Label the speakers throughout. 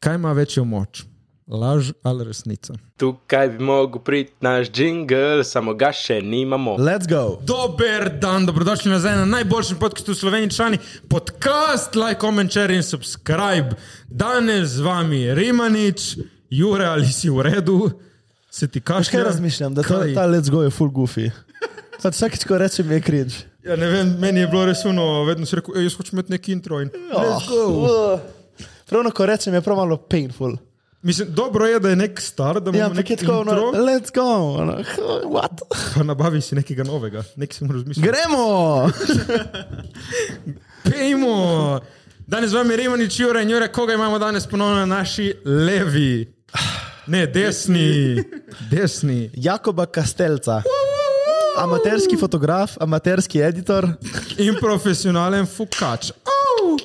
Speaker 1: Kaj ima večjo moč, laž ali resnica?
Speaker 2: Tukaj bi mogel priti naš jingle, samo ga še nimamo.
Speaker 3: Let's go.
Speaker 1: Dober dan, dobrodošli nazaj na najboljšem podkastu v Sloveniji, člani podcast, like, comment, share in subscribe. Danes z vami Rimanič, Jure ali si v redu, se ti kaže.
Speaker 3: Kaj razmišljam, da ta, ta let's go je full goofy. Pač vsakič, ko rečem, je cringe.
Speaker 1: Ja, ne vem, meni je bilo res uno, vedno si rekel, "Ej, jaz hočem imeti neki intro in
Speaker 3: Oh.
Speaker 1: let's go.
Speaker 3: Uh, Pravno, ko rečem, je prav malo painful.
Speaker 1: Mislim, dobro je, da je nek star, da
Speaker 3: Ja,
Speaker 1: imamo
Speaker 3: ampak
Speaker 1: nek
Speaker 3: je tako, no,
Speaker 1: intro,
Speaker 3: let's go. Ono, what?
Speaker 1: pa nabavi si nekega novega, nek sem razmišljal.
Speaker 3: Gremo!
Speaker 1: Pejmo! Danes z vami Rimani Čure in Jure, koga imamo danes ponovno na naši levi, ne desni, desni.
Speaker 3: Jakoba Kastelca. Amaterski fotograf, amaterski editor.
Speaker 1: in profesionalen fukač. Au!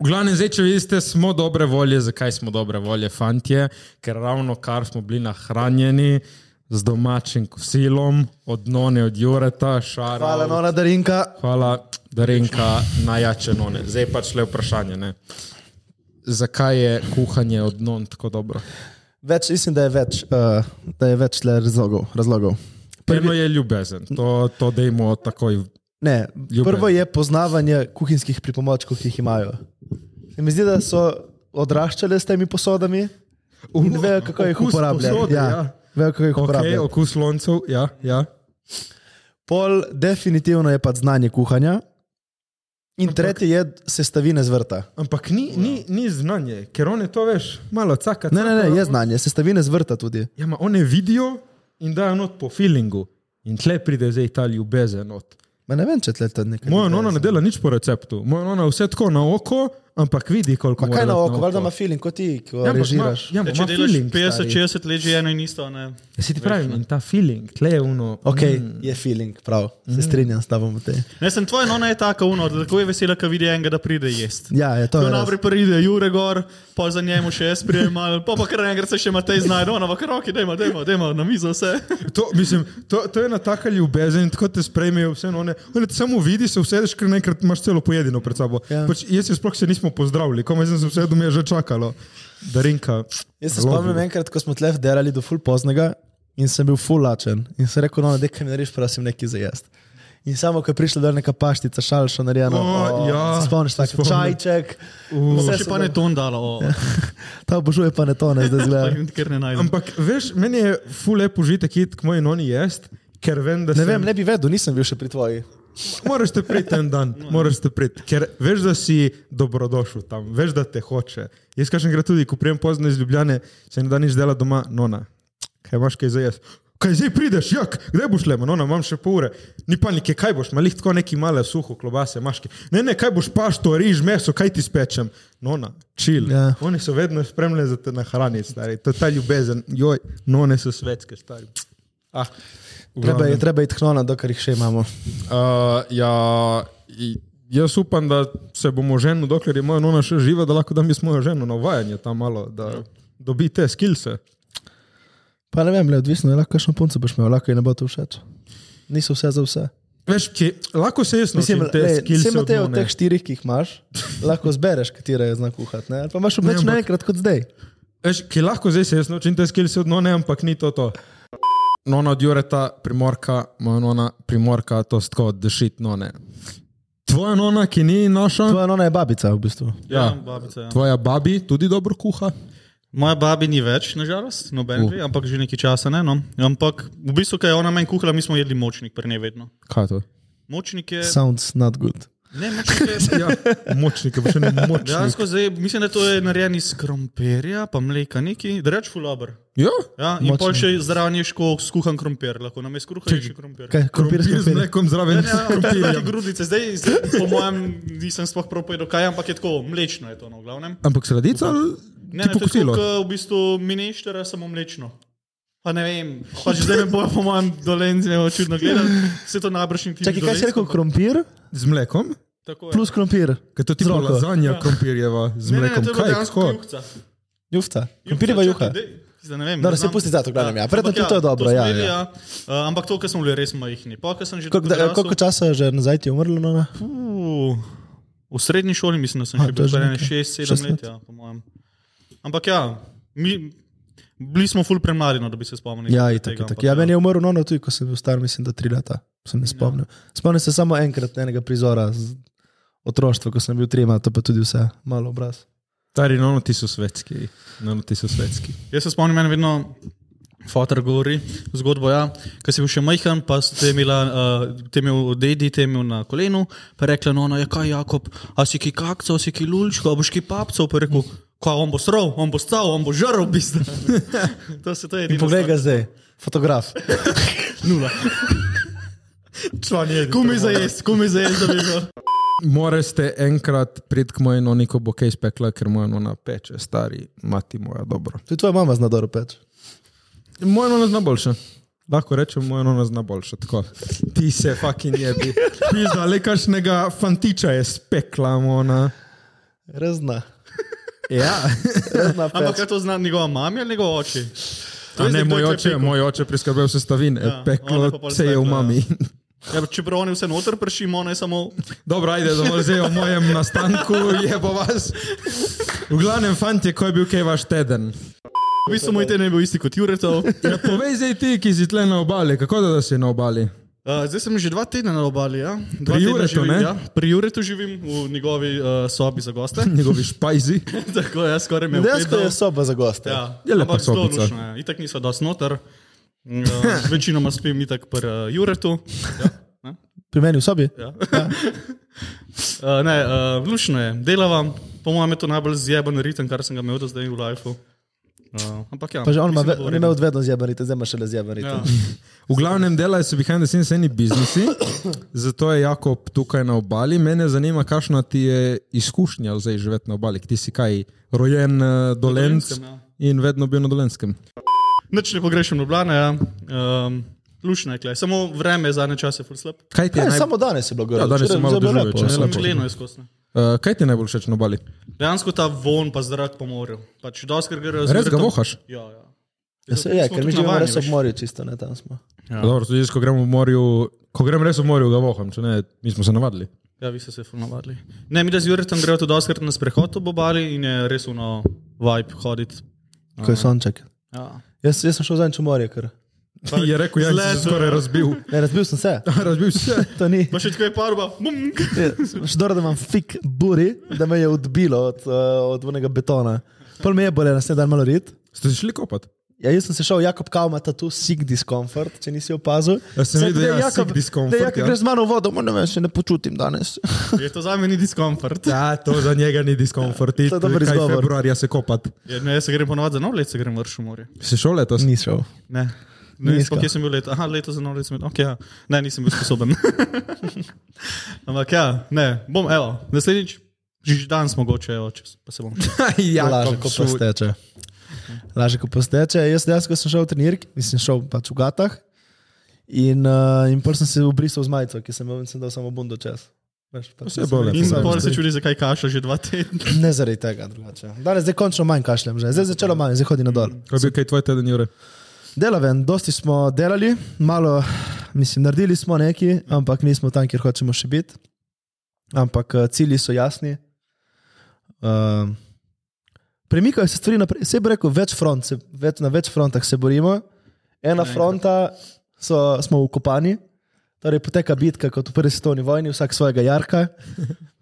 Speaker 1: V glavnem, zdaj, če vidite, smo dobre volje. Zakaj smo dobre volje, fantje? Ker ravno kar smo bili nahranjeni z domačim kosilom, od none, od Jureta, šara.
Speaker 3: Hvala, Nora Darinka.
Speaker 1: Hvala, Darinka, najjače none. Zdaj pač le vprašanje. Ne? Zakaj je kuhanje od non tako dobro?
Speaker 3: Več, mislim, da je več, uh, da je več le razlogov. razlogov.
Speaker 1: Prvo je ljubezen, to, to dajmo takoj.
Speaker 3: Ne,
Speaker 1: Ljubezen.
Speaker 3: prvo je poznavanje kuhinjskih pripomočkov, ki jih imajo. Se mi zdi, da so odraščali s temi posodami in vejo, kako jih
Speaker 1: Okus
Speaker 3: uporabljati.
Speaker 1: posode, ja.
Speaker 3: Vejo, kako jih
Speaker 1: Okay,
Speaker 3: uporabljati.
Speaker 1: okus loncev, ja, ja.
Speaker 3: Pol, definitivno je pač znanje kuhanja. In tretje je sestavine z vrta.
Speaker 1: Ampak ni, ni, ni znanje, ker one to veš, malo caka.
Speaker 3: Ne, ne,
Speaker 1: caka.
Speaker 3: ne, je znanje, sestavine z vrta tudi.
Speaker 1: Ja, ma one vidijo in dajo not po feelingu. In tle pride zdaj ta ljubezen. Not.
Speaker 3: Ma ne vem, če tle to nekaj.
Speaker 1: Moja nona
Speaker 3: ljubezen.
Speaker 1: ne dela nič po receptu, moja nona vse tako na oko, ampak vidi, koliko
Speaker 3: Ma kaj
Speaker 1: mora
Speaker 3: na
Speaker 1: dati
Speaker 3: oko, valjda ima feeling kot ti, ko
Speaker 1: Ja, ampak ima-
Speaker 3: režiraš.
Speaker 1: Ja,
Speaker 4: Ja,
Speaker 1: ampak
Speaker 4: če
Speaker 1: ima
Speaker 4: delaš
Speaker 1: feeling, 50,
Speaker 4: 50-60 let že eno in isto, ne.
Speaker 1: si ti pravi, in ta feeling, tle je mm. uno.
Speaker 3: Ok, je feeling, prav,
Speaker 1: Mm.
Speaker 3: se strinjam s tabo. Matej.
Speaker 4: Ne, sem tvoja nona je taka uno, da tako je vesela, ko vidi enega, da pride jest.
Speaker 3: Ja, je to.
Speaker 4: Ko
Speaker 3: je res.
Speaker 4: najprej pride Jure gor, pa za njemu še jaz prijem malo, pa pa kar enkrat se še Matej znajde, ona pa kar roki, dajmo, dajmo, dajmo, na mizo vse.
Speaker 1: To, mislim, to, to je ena taka ljubezen, in tako te sprejmejo vse. One, one te samo vidi, se vsedeš, ker naenkrat imaš celo pojedino pred sabo. Ja.
Speaker 3: Ja.
Speaker 1: Pač, jaz se sploh se nismo pozdravili, komaj sem se vse domuje že čakalo. Darinka.
Speaker 3: Jaz se
Speaker 1: love
Speaker 3: spomnim
Speaker 1: you.
Speaker 3: enkrat, ko smo tleh delali do ful poznega in sem bil ful lačen. In sem rekel, no, dekaj mi narediš, prosim, nekaj za jesti. In samo, ko je prišla dol neka paštica, šalša narejena,
Speaker 1: O,
Speaker 3: o,
Speaker 1: ja,
Speaker 3: se spomniš,
Speaker 1: se
Speaker 3: tako
Speaker 1: spomnim.
Speaker 3: čajček,
Speaker 4: Pa
Speaker 3: vse
Speaker 4: še
Speaker 3: so
Speaker 4: pa ne
Speaker 3: bile-
Speaker 4: ton dalo, o,
Speaker 3: Ja. ta obožuje pa ne to, ne zdaj
Speaker 4: pa
Speaker 3: zgleda.
Speaker 4: jim ker ne najdem.
Speaker 1: Ampak veš, meni je fule požitek iti k moji noni jest, ker vem, da
Speaker 3: Ne
Speaker 1: sem-
Speaker 3: vem, ne bi vedel, nisem bil še pri tvoji.
Speaker 1: Moraš te priti en dan, moraš te priti, ker veš, da si dobrodošel tam, veš, da te hoče. Jaz kažem, gre tudi, ko prijem pozno iz Ljubljane, se ne da nič dela doma, nona. Kaj imaš, kaj za jaz? Kaj zdaj prideš, jak, kdaj boš le, no, imam še pol ure, ni panike, kaj boš, malih tako neki male suho klobase, maški. Ne, ne, kaj boš pašto, riž, meso, kaj ti spečem, nona, čil.
Speaker 3: Ja.
Speaker 1: Oni so vedno spremljali za te nahraniti, stari, to je ta ljubezen, joj, none so svetske, stari. Ah, v
Speaker 3: Treba, je,
Speaker 1: glavnem.
Speaker 3: treba je thnona, dokler jih še imamo.
Speaker 1: Uh, ja, i- jaz upam, da se bomo ženili, dokler je moja nona še živa, da lahko da mi smo jo ženo na vajanje tam malo, da
Speaker 3: Ja.
Speaker 1: dobi te skilse.
Speaker 3: Pa ne vem, le, odvisno je, lahko še punce boš imel, lahko je ne bo to všeč. Niso vse za vse.
Speaker 1: Veš, ki, lahko se jaz
Speaker 3: Mislim,
Speaker 1: naučim te
Speaker 3: le,
Speaker 1: skilse.
Speaker 3: vse imate od
Speaker 1: none.
Speaker 3: teh štirih, ki jih imaš, lahko zbereš, katera je znak kuhati. ne? Ali Pa imaš več
Speaker 1: ampak-
Speaker 3: naenkrat kot zdaj.
Speaker 1: Veš, ki lahko zdaj se jaz naučim te skilse od none, ampak ni to to. Nona od Jureta, primorka, moja nona primorka, to je tako, dešit none. Tvoja nona, ki ni naša,
Speaker 3: Tvoja nona je babica v bistvu.
Speaker 4: Ja,
Speaker 1: ja,
Speaker 4: babica, ja.
Speaker 1: tvoja babi tudi dobro kuha.
Speaker 4: Moja babi ni več, nažalost, noben ve, ampak že nekaj časa ne. No. Ampak v bistvu, kaj je ona meni kuhala, mi smo jedli močnik, pri ne vedno.
Speaker 1: Kaj je to?
Speaker 4: Močnik je.
Speaker 3: Sounds not good.
Speaker 4: Ne, močnik je.
Speaker 1: Ja, močnik, pa še ne
Speaker 3: Pač Ja,
Speaker 1: močnik.
Speaker 4: Dejansko zdaj, mislim, da to je narejeno iz krompirja, pa mleka neki, da reč fulober.
Speaker 1: Ja.
Speaker 4: Ja, in pol
Speaker 3: Močno.
Speaker 4: še zraven je ško skuhan krompir, lahko nam je skuhan še krompir. Ja,
Speaker 3: Kaj, krompir s
Speaker 1: Krompir z
Speaker 3: krompirjem?
Speaker 1: mlekom zraven.
Speaker 4: Ne,
Speaker 1: s
Speaker 4: ne,
Speaker 1: krompirjem.
Speaker 4: krompirje. Grudice, zdaj, zdaj, po mojem, nisem sploh prav povedal, kaj je, ampak je tako, mlečno je to, no, v glavnem.
Speaker 1: Ampak sladica ali
Speaker 4: Ne, ne,
Speaker 1: tipo
Speaker 4: to je
Speaker 1: kosilo?
Speaker 4: kot v bistvu mineštera, samo mlečno. Pa ne vem, pač zdaj me bojo po mojem dolencu čudno gledali, vse to nabršnik ti.
Speaker 3: Čakaj, kaj si rekel, krompir
Speaker 1: Z mlekom?
Speaker 3: plus krompir?
Speaker 1: Ker to ti bo
Speaker 3: Z roko.
Speaker 1: lazanja krompirjeva z
Speaker 4: Ne, ne, ne,
Speaker 1: mlekom.
Speaker 4: to je bila
Speaker 1: Kaj je
Speaker 4: dejansko
Speaker 1: tako?
Speaker 4: juhca.
Speaker 3: Jufta. Krompirjeva juha.
Speaker 4: ja, čakaj, daj, zdaj ne vem,
Speaker 3: Dobro,
Speaker 4: ne
Speaker 3: se
Speaker 4: znam.
Speaker 3: pusti za to, glavnem, ja. Verjetno
Speaker 4: ampak
Speaker 3: tudi to je dobro,
Speaker 4: smo
Speaker 3: ja,
Speaker 4: jedli,
Speaker 3: ja.
Speaker 4: Uh, ampak to, kar smo bili, res majhni. Pa, ko sem že
Speaker 3: Koliko, da,
Speaker 4: tako
Speaker 3: koliko
Speaker 4: odrasel-
Speaker 3: časa je že nazaj ti je umrlo? Nona?
Speaker 4: Puh, V srednji šoli mislim, da sem
Speaker 3: A,
Speaker 4: še
Speaker 3: to
Speaker 4: bil
Speaker 3: je že
Speaker 4: staren
Speaker 3: nekaj.
Speaker 4: 6-7 let,
Speaker 3: Šestnajst?
Speaker 4: ja, po mojem. Ampak ja, mi, bili smo ful premladi, no, da bi se spomnili.
Speaker 3: Ja,
Speaker 4: tega,
Speaker 3: itak, itak.
Speaker 4: ampak
Speaker 3: Ja, meni je umrl nono tudi, ko sem bil star, mislim, da tri leta. Se ne
Speaker 4: Ja.
Speaker 3: spomnim. Spomnim se samo enkrat enega prizora z otroštva, ko sem bil trima, to pa tudi vse, malo obraz.
Speaker 1: Stari, no, ti so svetski. No, ti so svetski.
Speaker 4: Jaz se spomnim, meni vedno fotor govori zgodbo, ja, ko si bil še majhen, pa ste imeli, uh, te imel dedi, te imel na kolenu, pa rekla, no, no, ja, kaj Jakob, a si ki kakco, a si ki lulčko, a boš ki papco, pa je rekel, ko on bo strov, on bo stal, on bo žrl, v bistvu. to se to je edino.
Speaker 3: Poglej ga zdaj, fotograf.
Speaker 1: Član je.
Speaker 4: Kumi za jesti, kumi za jesti, da bi bilo.
Speaker 1: Morate enkrat priti k moji noni, ko bo kaj spekla, ker moja nona peče, stari, mati moja, dobro.
Speaker 3: Tudi tvoja mama zna dobro peč.
Speaker 1: Moja nona zna boljše. Lahko rečem, moja nona zna boljše. Tako. Ti se fucking jebi. Pizda, le kašnega fantiča je spekla, mona.
Speaker 3: Razna.
Speaker 1: Ja.
Speaker 3: Razna
Speaker 4: Ampak
Speaker 3: peč.
Speaker 4: kaj to zna njegova mama ali njegov oče?
Speaker 1: A ne,
Speaker 4: zdaj, kdo
Speaker 1: moj
Speaker 4: je tle
Speaker 1: oče,
Speaker 4: pekel.
Speaker 1: moj oče je priskrbel sestavine,
Speaker 4: Ja,
Speaker 1: ja,
Speaker 4: ona
Speaker 1: peklo
Speaker 4: pa pol
Speaker 1: se je v
Speaker 4: spekla, ja.
Speaker 1: mami.
Speaker 4: Ja, čeprav on je vse noter pršim, on je samo...
Speaker 1: Dobro, ajde, da bo zdaj o mojem nastanku, je bo vas. V glavnem, fantje, ko je bil kaj vaš teden?
Speaker 4: V bistvu moj teden je bil isti kot Juretov.
Speaker 1: Ja, povej zdaj ti, ki si tle na obali, kako da, da si na obali?
Speaker 4: Uh, zdaj sem že dva tedna na obali. Ja? Dva
Speaker 1: Pri
Speaker 4: tedna
Speaker 1: Juretu,
Speaker 4: živim,
Speaker 1: ne?
Speaker 4: Ja? Pri Juretu živim v njegovi uh, sobi za goste.
Speaker 1: Njegovi špajzi.
Speaker 4: Tako jaz skoraj me
Speaker 3: Dejansko je soba za goste.
Speaker 4: Ja,
Speaker 1: Je lepa
Speaker 4: ampak zelo
Speaker 1: sobica.
Speaker 4: lušna. je. Itak nisva dosti noter. Uh, večinoma spim itak pri uh, Juretu. Ja.
Speaker 3: Pri meni v sobi?
Speaker 4: Ja. uh, ne, uh, lušno je. Delava, po mojem je to najbolj zjeben ritem, kar sem ga imel do zdaj v lifeu. Uh, ampak ja.
Speaker 3: Pa že on, ima
Speaker 4: mislim,
Speaker 3: ve-
Speaker 4: da bo
Speaker 3: on
Speaker 4: v
Speaker 3: je
Speaker 4: redu.
Speaker 3: imel vedno zjebanite, zdaj ima šele zjebanite.
Speaker 4: Ja.
Speaker 3: Ja.
Speaker 1: V glavnem delajo se behind the scenes eni biznisi, zato je Jakob tukaj na obali. Mene zanima, kakšna ti je izkušnja zdaj živeti na obali. Ker Ti si kaj, rojen eh, dolenc
Speaker 4: Dolenskem, ja.
Speaker 1: in vedno bil na dolenskem.
Speaker 4: Nič ne pogrešam Ljubljana, ja. um, lušno je kle. Samo vreme je zadnje čase ful slab.
Speaker 1: Kaj ti je,
Speaker 3: Ja,
Speaker 1: naj...
Speaker 3: samo danes je bilo gore.
Speaker 1: Ja, danes je
Speaker 3: včeraj
Speaker 1: malo
Speaker 3: bilo
Speaker 1: dežuje,
Speaker 3: lepo,
Speaker 1: če ne,
Speaker 3: vse
Speaker 1: lepo.
Speaker 3: lepo.
Speaker 4: Žleno je skosno.
Speaker 1: Eh, kaj ti je najbolj všeč na obali?
Speaker 4: Dejansko ta von pa zrak po morju. Pač doskar gre
Speaker 1: Res ga vohaš?
Speaker 4: Ja, ja.
Speaker 3: Ja, se- Ja,
Speaker 4: Smo
Speaker 3: ker mi
Speaker 4: tudi
Speaker 3: živimo
Speaker 4: navajeni,
Speaker 3: res ob
Speaker 4: veš.
Speaker 3: morju, čisto ne tam smo.
Speaker 1: Ja. Dobro, tudi jaz, ko grem v morju, ko grem res v morju, ga voham, če ne, mi smo se navadili.
Speaker 4: Ja, vi ste se ful navadili. Ne, mi da z Juretom gremo tudi doskar na sprehod ob obali in je res uno vibe hoditi.
Speaker 3: Ko je sonček.
Speaker 4: Ja.
Speaker 3: No. Jaz, jaz sem šel zadnjič v morje, ker.
Speaker 1: je rekel, ja, da
Speaker 4: zletel.
Speaker 1: se skoraj razbil.
Speaker 3: Ne, razbil sem se.
Speaker 1: razbil si se.
Speaker 3: To ni.
Speaker 4: Pa še tako je parba. Munk.
Speaker 3: Šdor, da imam fik buri, da me je odbilo od, eh, od onega betona. Pol me je bolje, naslednji dan malo red.
Speaker 1: Ste si šli kopat?
Speaker 3: Ja, jaz sem se šel, Jakob, kao ima tu sig diskomfort, če nisi opazil.
Speaker 1: Ja, sem
Speaker 3: Sem
Speaker 1: videl,
Speaker 3: rekel,
Speaker 1: ja, sig discomfort,
Speaker 3: "Daj, Jakob,
Speaker 1: ja."
Speaker 3: greš z mano v vodo, "Ma ne vem, še ne počutim danes.
Speaker 4: Je to za me ni diskomfort.
Speaker 1: Ja, to za njega ni diskomfort.
Speaker 3: To je dober
Speaker 1: Kaj
Speaker 3: izgovor.
Speaker 1: Februarja se kopat.
Speaker 4: Ja, ne, jaz se grem ponovadi za nov let, se grem vrš v morje.
Speaker 1: Si šel letos?
Speaker 3: Ni šel.
Speaker 4: Ne. Ne,
Speaker 3: Nizko.
Speaker 4: sploh nisem bil leto. Aha, leto za nov let sem bil. Okay, ja. Ne, nisem bil sposoben. Ampak ja, ne, bom, evo, naslednjič, že danes mogoče, evo, čez, pa se bom.
Speaker 1: ja,
Speaker 3: Laže, ko posteče. Laže, ko posteče. Jaz dejansko sem šel v trenirk, nisem šel pač v gatah. In, uh, in pol sem se obrisal z majico, ki sem jo in sem dal samo bundo čez. Veš, pač
Speaker 1: Saj
Speaker 3: nisem
Speaker 1: bo
Speaker 3: imel-
Speaker 1: lepo.
Speaker 4: In
Speaker 1: Sam
Speaker 4: pol se
Speaker 1: zdaj.
Speaker 4: čudi, zakaj kaša že dva tedna.
Speaker 3: Ne zaradi tega drugače. Danes zdaj končno manj kašljem, že. zdaj je začelo manj, zdaj hodi na dol.
Speaker 1: Kaj je bil kaj tvoj teden, Jure?
Speaker 3: Delaven, dosti smo delali, malo, mislim, naredili smo nekaj, ampak nismo tam, kjer hočemo še biti. Ampak eh, cilji so jasni. Uh, premikajo se stvari naprej. Sej bi rekel, več front, se, več, na več frontah se borimo. Ena fronta so, smo ukopani, torej poteka bitka kot v prvi svetovni vojni, vsak svojega jarka.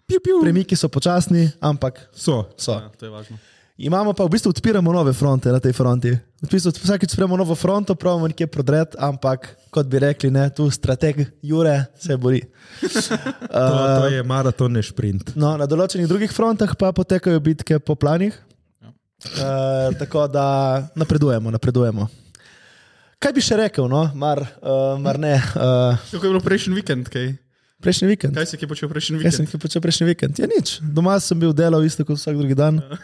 Speaker 1: Piu, piu.
Speaker 3: Premiki so počasni, ampak
Speaker 1: So.
Speaker 3: so.
Speaker 4: Ja, to je važno.
Speaker 3: Imamo pa v bistvu odpiramo nove fronte na tej fronti. V bistvu vsakeč spremo novo fronto, pravimo nekje prodret, ampak kot bi rekli, ne, tu strateg Jure se bori. Eh,
Speaker 1: To, to je maraton, ne šprint.
Speaker 3: No, na določenih drugih frontah pa potekajo bitke po planih.
Speaker 4: Ja.
Speaker 3: Uh, tako da napredujemo, napredujemo. Kaj bi še rekel, no? mar, uh, mar ne, uh,
Speaker 4: Kako je bilo prejšnji vikend, kaj?
Speaker 3: prejšnji vikend.
Speaker 4: Kaj si je počel prejšnji
Speaker 3: Kaj sem
Speaker 4: vikend?
Speaker 3: ki počel prejšnji vikend? Ja, nič. Doma sem bil delal isto kot vsak drugi dan.
Speaker 4: Ja.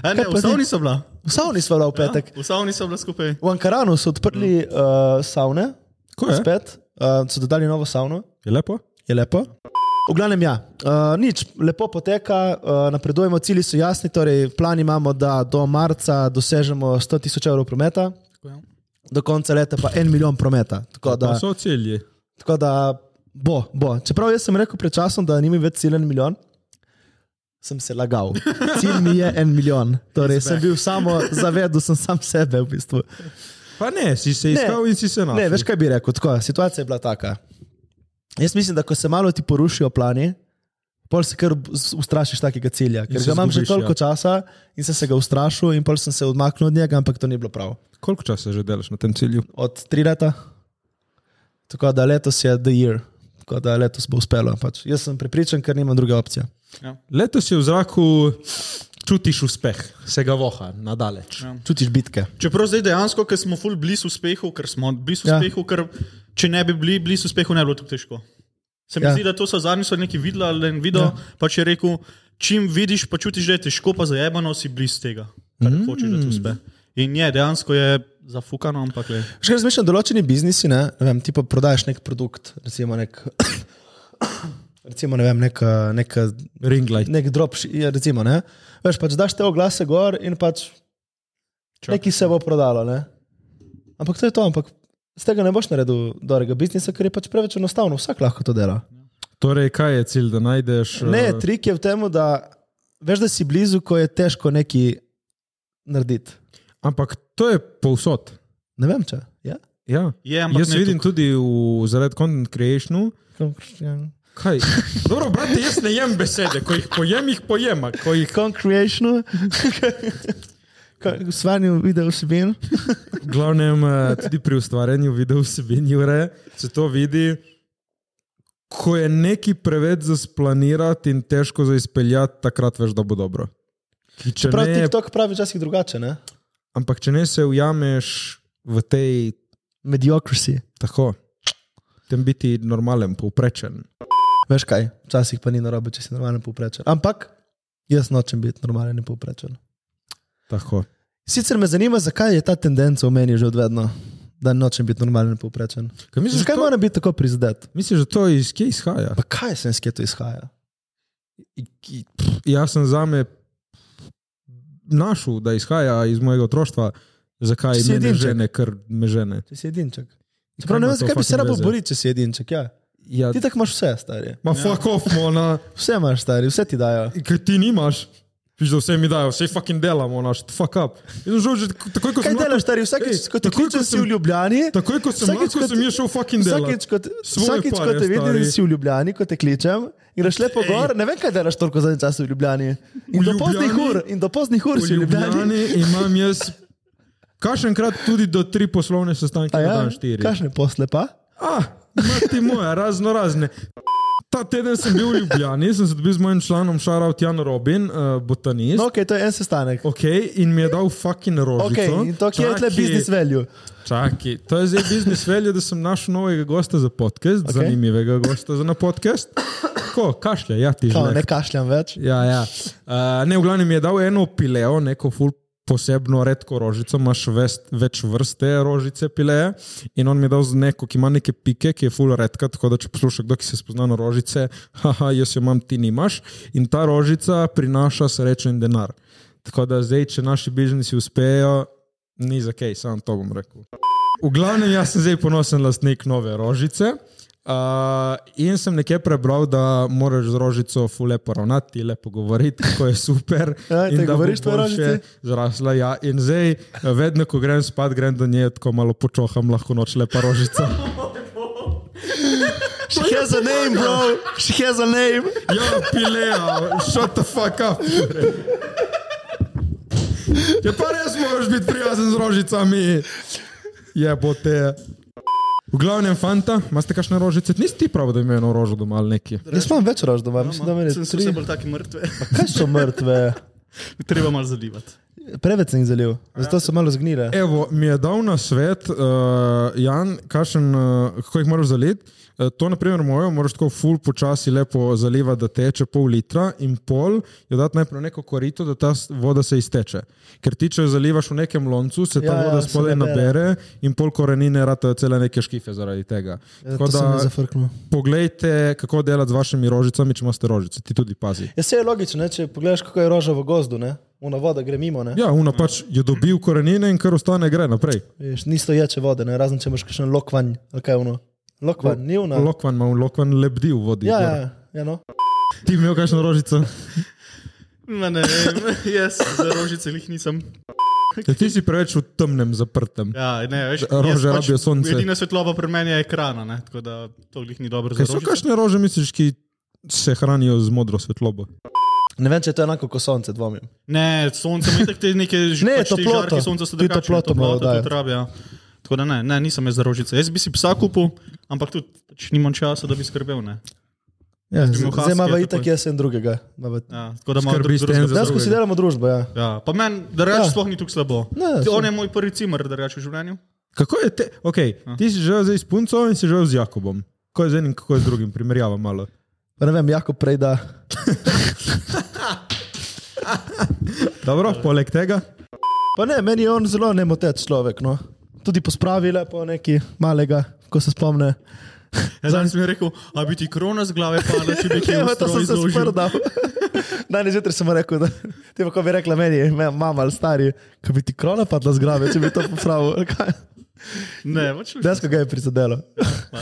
Speaker 4: A ne,
Speaker 3: kaj
Speaker 4: v
Speaker 3: pa ti?
Speaker 4: savni so bila.
Speaker 3: Vsa nisva bila v petek.
Speaker 4: V savni so bila skupaj.
Speaker 3: V Ankaranu so odprli uh, savne,
Speaker 1: Mm. Ko je?
Speaker 3: spet uh, so dodali novo savno,
Speaker 1: Je lepo?
Speaker 3: je lepo. V glavnem, ja, uh, nič, lepo poteka, uh, napredujemo, cilji so jasni. Torej, plan imamo, da do marca dosežemo 100 tisoč evrov prometa, do konca leta pa en milijon prometa. Tako
Speaker 1: Da.
Speaker 3: da,
Speaker 1: So cilji.
Speaker 3: tako da bo, bo. Čeprav jaz sem rekel pred časom, da nimi več cilj en milijon, sem se lagal. Cilj mi je en milijon. Torej, sem bil samo zavedel, sem sam sebe v bistvu.
Speaker 1: Pa ne, si se iskal in si se našel.
Speaker 3: Ne, veš kaj bi rekel, tako, situacija je bila taka. Jaz mislim, da ko se malo ti porušijo plani, pol se kar z- ustrašiš takega cilja. Ker
Speaker 1: se
Speaker 3: ga imam že
Speaker 1: izgubiš, ja.
Speaker 3: toliko ja. časa in sem se ga ustrašil in pol sem se odmaknil od njega, ampak to ni bilo prav.
Speaker 1: Koliko časa že delaš na tem cilju?
Speaker 3: Od tri leta. Tako da letos je the year. Tako da letos bo uspelo. Pač. Jaz sem prepričan, ker nimam druge opcije.
Speaker 1: Letos je v zraku, čutiš uspeh, se ga voha nadaleč. Ja.
Speaker 3: Čutiš bitke.
Speaker 4: Čeprav zdaj dejansko, ker smo ful blizu uspehu, ker smo blizu
Speaker 3: Ja.
Speaker 4: ja. uspehu, ker če ne bi bili blizu uspehu, ne bi bilo tako težko. Se mi
Speaker 3: Ja.
Speaker 4: ja. zdi, da to so zadnji so neki videli ali en video, ja. pa če rekel, čim vidiš, pa čutiš, da je težko, pa zajebano si blizu tega, kar mm. hočeš, da ti uspe. In je, dejansko je zafukano, ampak le.
Speaker 3: Še kaj razmišljam, določeni biznisi, ne, ne vem, ti pa prodajaš nek produkt, recimo nek. Recimo, ne vem, nek, eh, nek,
Speaker 1: Ring light.
Speaker 3: nek drop, ja, recimo, ne. Veš, pač daš te oglase gor in pač
Speaker 4: Čakaj.
Speaker 3: nekaj se bo prodalo, ne. Ampak to je to, ampak z tega ne boš naredil dobrega biznisa, ker je pač preveč enostavno, vsak lahko to dela.
Speaker 1: Torej, kaj je cilj, da najdeš?
Speaker 3: Ne,
Speaker 1: eh,
Speaker 3: trik je v tem, da veš, da si blizu, ko je težko nekaj narediti.
Speaker 1: Ampak to je povsod.
Speaker 3: Ne vem, če. Ja?
Speaker 1: Ja.
Speaker 4: Je, ampak
Speaker 1: Jaz
Speaker 4: ne
Speaker 1: vidim
Speaker 4: tukaj.
Speaker 1: tudi v zaradi content creationu. Kaj? Dobro, brate, jaz ne jem besede, ko jih pojem, jih pojema. Ko jih...
Speaker 3: Concreation, svanju video vsebin.
Speaker 1: V glavnem, eh, tudi pri ustvarjanju video vsebin Jure, se to vidi, ko je neki preveč za splanirati in težko za izpeljati, takrat veš, da bo dobro. Ki Če
Speaker 3: Prav
Speaker 1: ne,
Speaker 3: TikTok pravi včasih drugače, ne?
Speaker 1: ampak če ne se ujameš v tej
Speaker 3: Mediocracy.
Speaker 1: tako, tem biti normalen, povprečen.
Speaker 3: Veš kaj, včasih pa ni narobe, če si normalen povprečen. Ampak jaz nočem biti normalen in povprečen.
Speaker 1: Tako.
Speaker 3: Sicer me zanima, zakaj je ta tendenca v meni že odvedno, da nočem biti normalen in povprečen.
Speaker 1: Kaj misliš,
Speaker 3: Zakaj
Speaker 1: da to-
Speaker 3: moram biti tako prizadet?
Speaker 1: Misliš, da to iz kje izhaja?
Speaker 3: Pa kaj sem, skje to izhaja?
Speaker 1: Jaz sem za me našel, da izhaja iz mojega otroštva, zakaj
Speaker 3: Si
Speaker 1: me ne
Speaker 3: edinček.
Speaker 1: žene, ker me žene.
Speaker 3: Če si edinček. Čeprav ne
Speaker 1: ima
Speaker 3: vem,
Speaker 1: to
Speaker 3: zakaj bi se
Speaker 1: fucking
Speaker 3: rabo
Speaker 1: veze?
Speaker 3: boriti, če si edinček. Ja.
Speaker 1: Ja,
Speaker 3: Ti Ja. tako imaš vse, stari.
Speaker 1: Ma fuck off, mona,
Speaker 3: Vse imaš, stari, vse ti dajo.
Speaker 1: ker ti nimaš. Piš, da vse mi dajo, vse fucking delamo, naš, fuck up. Jaz sem že takoj, ko
Speaker 3: Kaj
Speaker 1: sem
Speaker 3: delaš, stari?
Speaker 1: Ej,
Speaker 3: Vsakič, ko ti
Speaker 1: takoj,
Speaker 3: kličeš,
Speaker 1: ko
Speaker 3: si v
Speaker 1: sem-
Speaker 3: Ljubljani.
Speaker 1: Takoj, ko sem
Speaker 3: Vsakič,
Speaker 1: mlad, ko
Speaker 3: ko
Speaker 1: sem
Speaker 3: ti-
Speaker 1: je šel fucking
Speaker 3: Vsakič,
Speaker 1: delat.
Speaker 3: ko, te-
Speaker 1: Svoje
Speaker 3: vsakič, ko
Speaker 1: pare,
Speaker 3: te vidim, da
Speaker 1: stari.
Speaker 3: si v Ljubljani, ko te kličem, greš lepo gor, ne vem, kaj delaš toliko zadnjih časov v Ljubljani. In
Speaker 1: V
Speaker 3: do poznih
Speaker 1: Ljubljani-
Speaker 3: ur, in do poznih ur
Speaker 1: V
Speaker 3: si v Ljubljani.
Speaker 1: Ljubljani imam jaz, kašenkrat tudi do tri poslovne sestanke,
Speaker 3: A
Speaker 1: na
Speaker 3: ja,
Speaker 1: dan štiri.
Speaker 3: kakšne posle pa?
Speaker 1: Ah, mati moja, razno razne. Ta teden sem bil v Ljubljani, sem se dobil z mojim članom Šarav Jan Robin, uh, botanist.
Speaker 3: No,
Speaker 1: No.
Speaker 3: ok, to je en sestanek.
Speaker 1: Ok, in mi je dal fucking rožico.
Speaker 3: Ok, in to kje je tle
Speaker 1: Čakaj,
Speaker 3: business value?
Speaker 1: Čakaj, to je zdaj biznis velje, da sem našel novega gosta za podcast, okay. zanimivega gosta za na podcast. Ko, kašlja, ja ti
Speaker 3: Kao, ne
Speaker 1: že.
Speaker 3: kašljam več.
Speaker 1: Ja, ja. Uh, ne, v glavnem mi je dal eno pileo, neko ful posebno redko rožico, imaš vest, več vrste rožice pileje in on mi je dal z neko, ki ima neke pike, ki je ful redka, tako da če posluša kdo, ki se spozna na rožice, haha, jaz jo imam, ti nimaš in ta rožica prinaša srečo in denar. Tako da zdaj, če naši biznisi uspejo, ni za kaj, samo to bom rekel. V glavnem, jaz sem zdaj ponosen lastnik nove rožice. Uh, in sem nekje prebral, da moraš z rožico fule poravnati, lepo govoriti, kako je super.
Speaker 3: Ja, te
Speaker 1: in da bo
Speaker 3: govoriš tvoji
Speaker 1: boljše
Speaker 3: rožici?
Speaker 1: Zrasla, ja. In zdaj, vedno, ko grem spat, grem do nje, tako malo počoham, lahko noč lepa rožica.
Speaker 3: She has a name, bro. She has a name.
Speaker 1: Ja, pilea, shut the fuck up. Je pa res, moraš biti prijazen z rožicami. Je bote. V glavnem, fanta, imate kakšne rožice? Nisi ti prav, da imaš eno rožo doma ali neki.
Speaker 3: Jaz imam več rož doma, mislim, da meni
Speaker 4: Sem
Speaker 3: tri.
Speaker 4: vse bolj taki mrtve.
Speaker 3: Kaj so mrtve?
Speaker 4: Treba malo zalivati.
Speaker 3: Preveč sem jih zalil, zato so malo zgnile.
Speaker 1: Evo, mi je dal na svet, uh, Jan, kašen, uh, kako jih moraš zaliti. Uh, to, na primer, mojo, moraš tako full počasi lepo zalivati, da teče pol litra in pol, jo dati najprej v neko korito, da ta s- voda se izteče. Ker ti, če jo zalivaš v nekem loncu, se ta
Speaker 3: Ja,
Speaker 1: ja,
Speaker 3: ja,
Speaker 1: voda ja,
Speaker 3: se
Speaker 1: spodaj
Speaker 3: nabere.
Speaker 1: nabere in pol korenine ratajo cele neke škife zaradi tega.
Speaker 3: Ja,
Speaker 1: Tako
Speaker 3: to sem
Speaker 1: da,
Speaker 3: jaz zafrknil.
Speaker 1: poglejte, kako delati z vašimi rožicami, če imate rožice, ti tudi pazi.
Speaker 3: Ja, se je logično, ne? če pogledaš, kako je roža v gozdu, ne? Una voda gre mimo, ne?
Speaker 1: Ja, uno pač je dobil korenine in kar ostane gre naprej.
Speaker 3: Veš, ni stoječe vode, ne? razen če imaš kakšen lokvanj, ali kaj je ono. Lokvanj, ni ono.
Speaker 1: Lokvan ima, lokvan lebdi v vodi.
Speaker 3: ja,
Speaker 1: gor.
Speaker 3: ja, ja, no.
Speaker 1: Ti imel kakšno rožico?
Speaker 4: Ma No, ne vem, jaz za rožice jih nisem.
Speaker 1: Ja, ti si preveč v temnem, zaprtem.
Speaker 4: Ja, ne, veš,
Speaker 1: Rože
Speaker 4: jaz
Speaker 1: rabijo sonce.
Speaker 4: Edina svetloba pri meni je ekrana, ne, tako da to jih ni dobro za
Speaker 1: Kaj so
Speaker 4: rožice.
Speaker 1: kakšne rože, misliš, ki se hranijo z modro svetlobo?
Speaker 3: Ne vem, če je to enako kot sonce, dvomim.
Speaker 4: Ne, sonce ima tako te neke ž-
Speaker 3: Ne,
Speaker 4: pač te
Speaker 3: toploto.
Speaker 4: žarki sonca so
Speaker 3: Ti
Speaker 4: drugačne,
Speaker 3: toploto malo dajo.
Speaker 4: tudi rabijo. Tako da ne, ne, nisem jaz za rožice. Jaz bi si psa kupil, ampak tudi pač nimam časa, da bi skrbel. Ne.
Speaker 3: Ja, z-
Speaker 4: imel
Speaker 3: zdaj ima
Speaker 4: huskyja,
Speaker 3: v itak
Speaker 4: tako.
Speaker 3: jaz en drugega. ima v-
Speaker 4: Ja, tako da malo
Speaker 1: Skrbiš
Speaker 4: drug-
Speaker 1: te en
Speaker 4: drug-
Speaker 1: za
Speaker 3: Dejansko si delamo družbo, ja.
Speaker 4: Ja, pa meni, da rečeš,
Speaker 3: Ja.
Speaker 4: ja. sploh ni tako slabo.
Speaker 3: Ne,
Speaker 4: Ti-
Speaker 3: saj.
Speaker 4: On je moj prvi cimer, da rečeš v življenju.
Speaker 1: Kako je te? Okay, ti si živel zdaj s punco in si živel z Jakobom. Kako je z enim, kako je z drugim, primerjava malo.
Speaker 3: Pa Ne vem, jako prej da.
Speaker 1: Dobro, poleg tega.
Speaker 3: Pa ne, meni je on zelo nemotec človek. No. Tudi pospravi lepo nekaj malega, ko se spomne.
Speaker 4: Ja, danes mi je rekel, a bi ti krona z glave padla, če bi ti jo
Speaker 3: Ja, to sem se
Speaker 4: izložil.
Speaker 3: sprdal. Danes zjutraj sem mu rekel, da ti pa ko bi rekla meni, me- mama ali stari, ko bi ti krona padla z glave, če bi to popravil. Kaj?
Speaker 4: Ne, pač ne.
Speaker 3: Desko ga je prizadelo.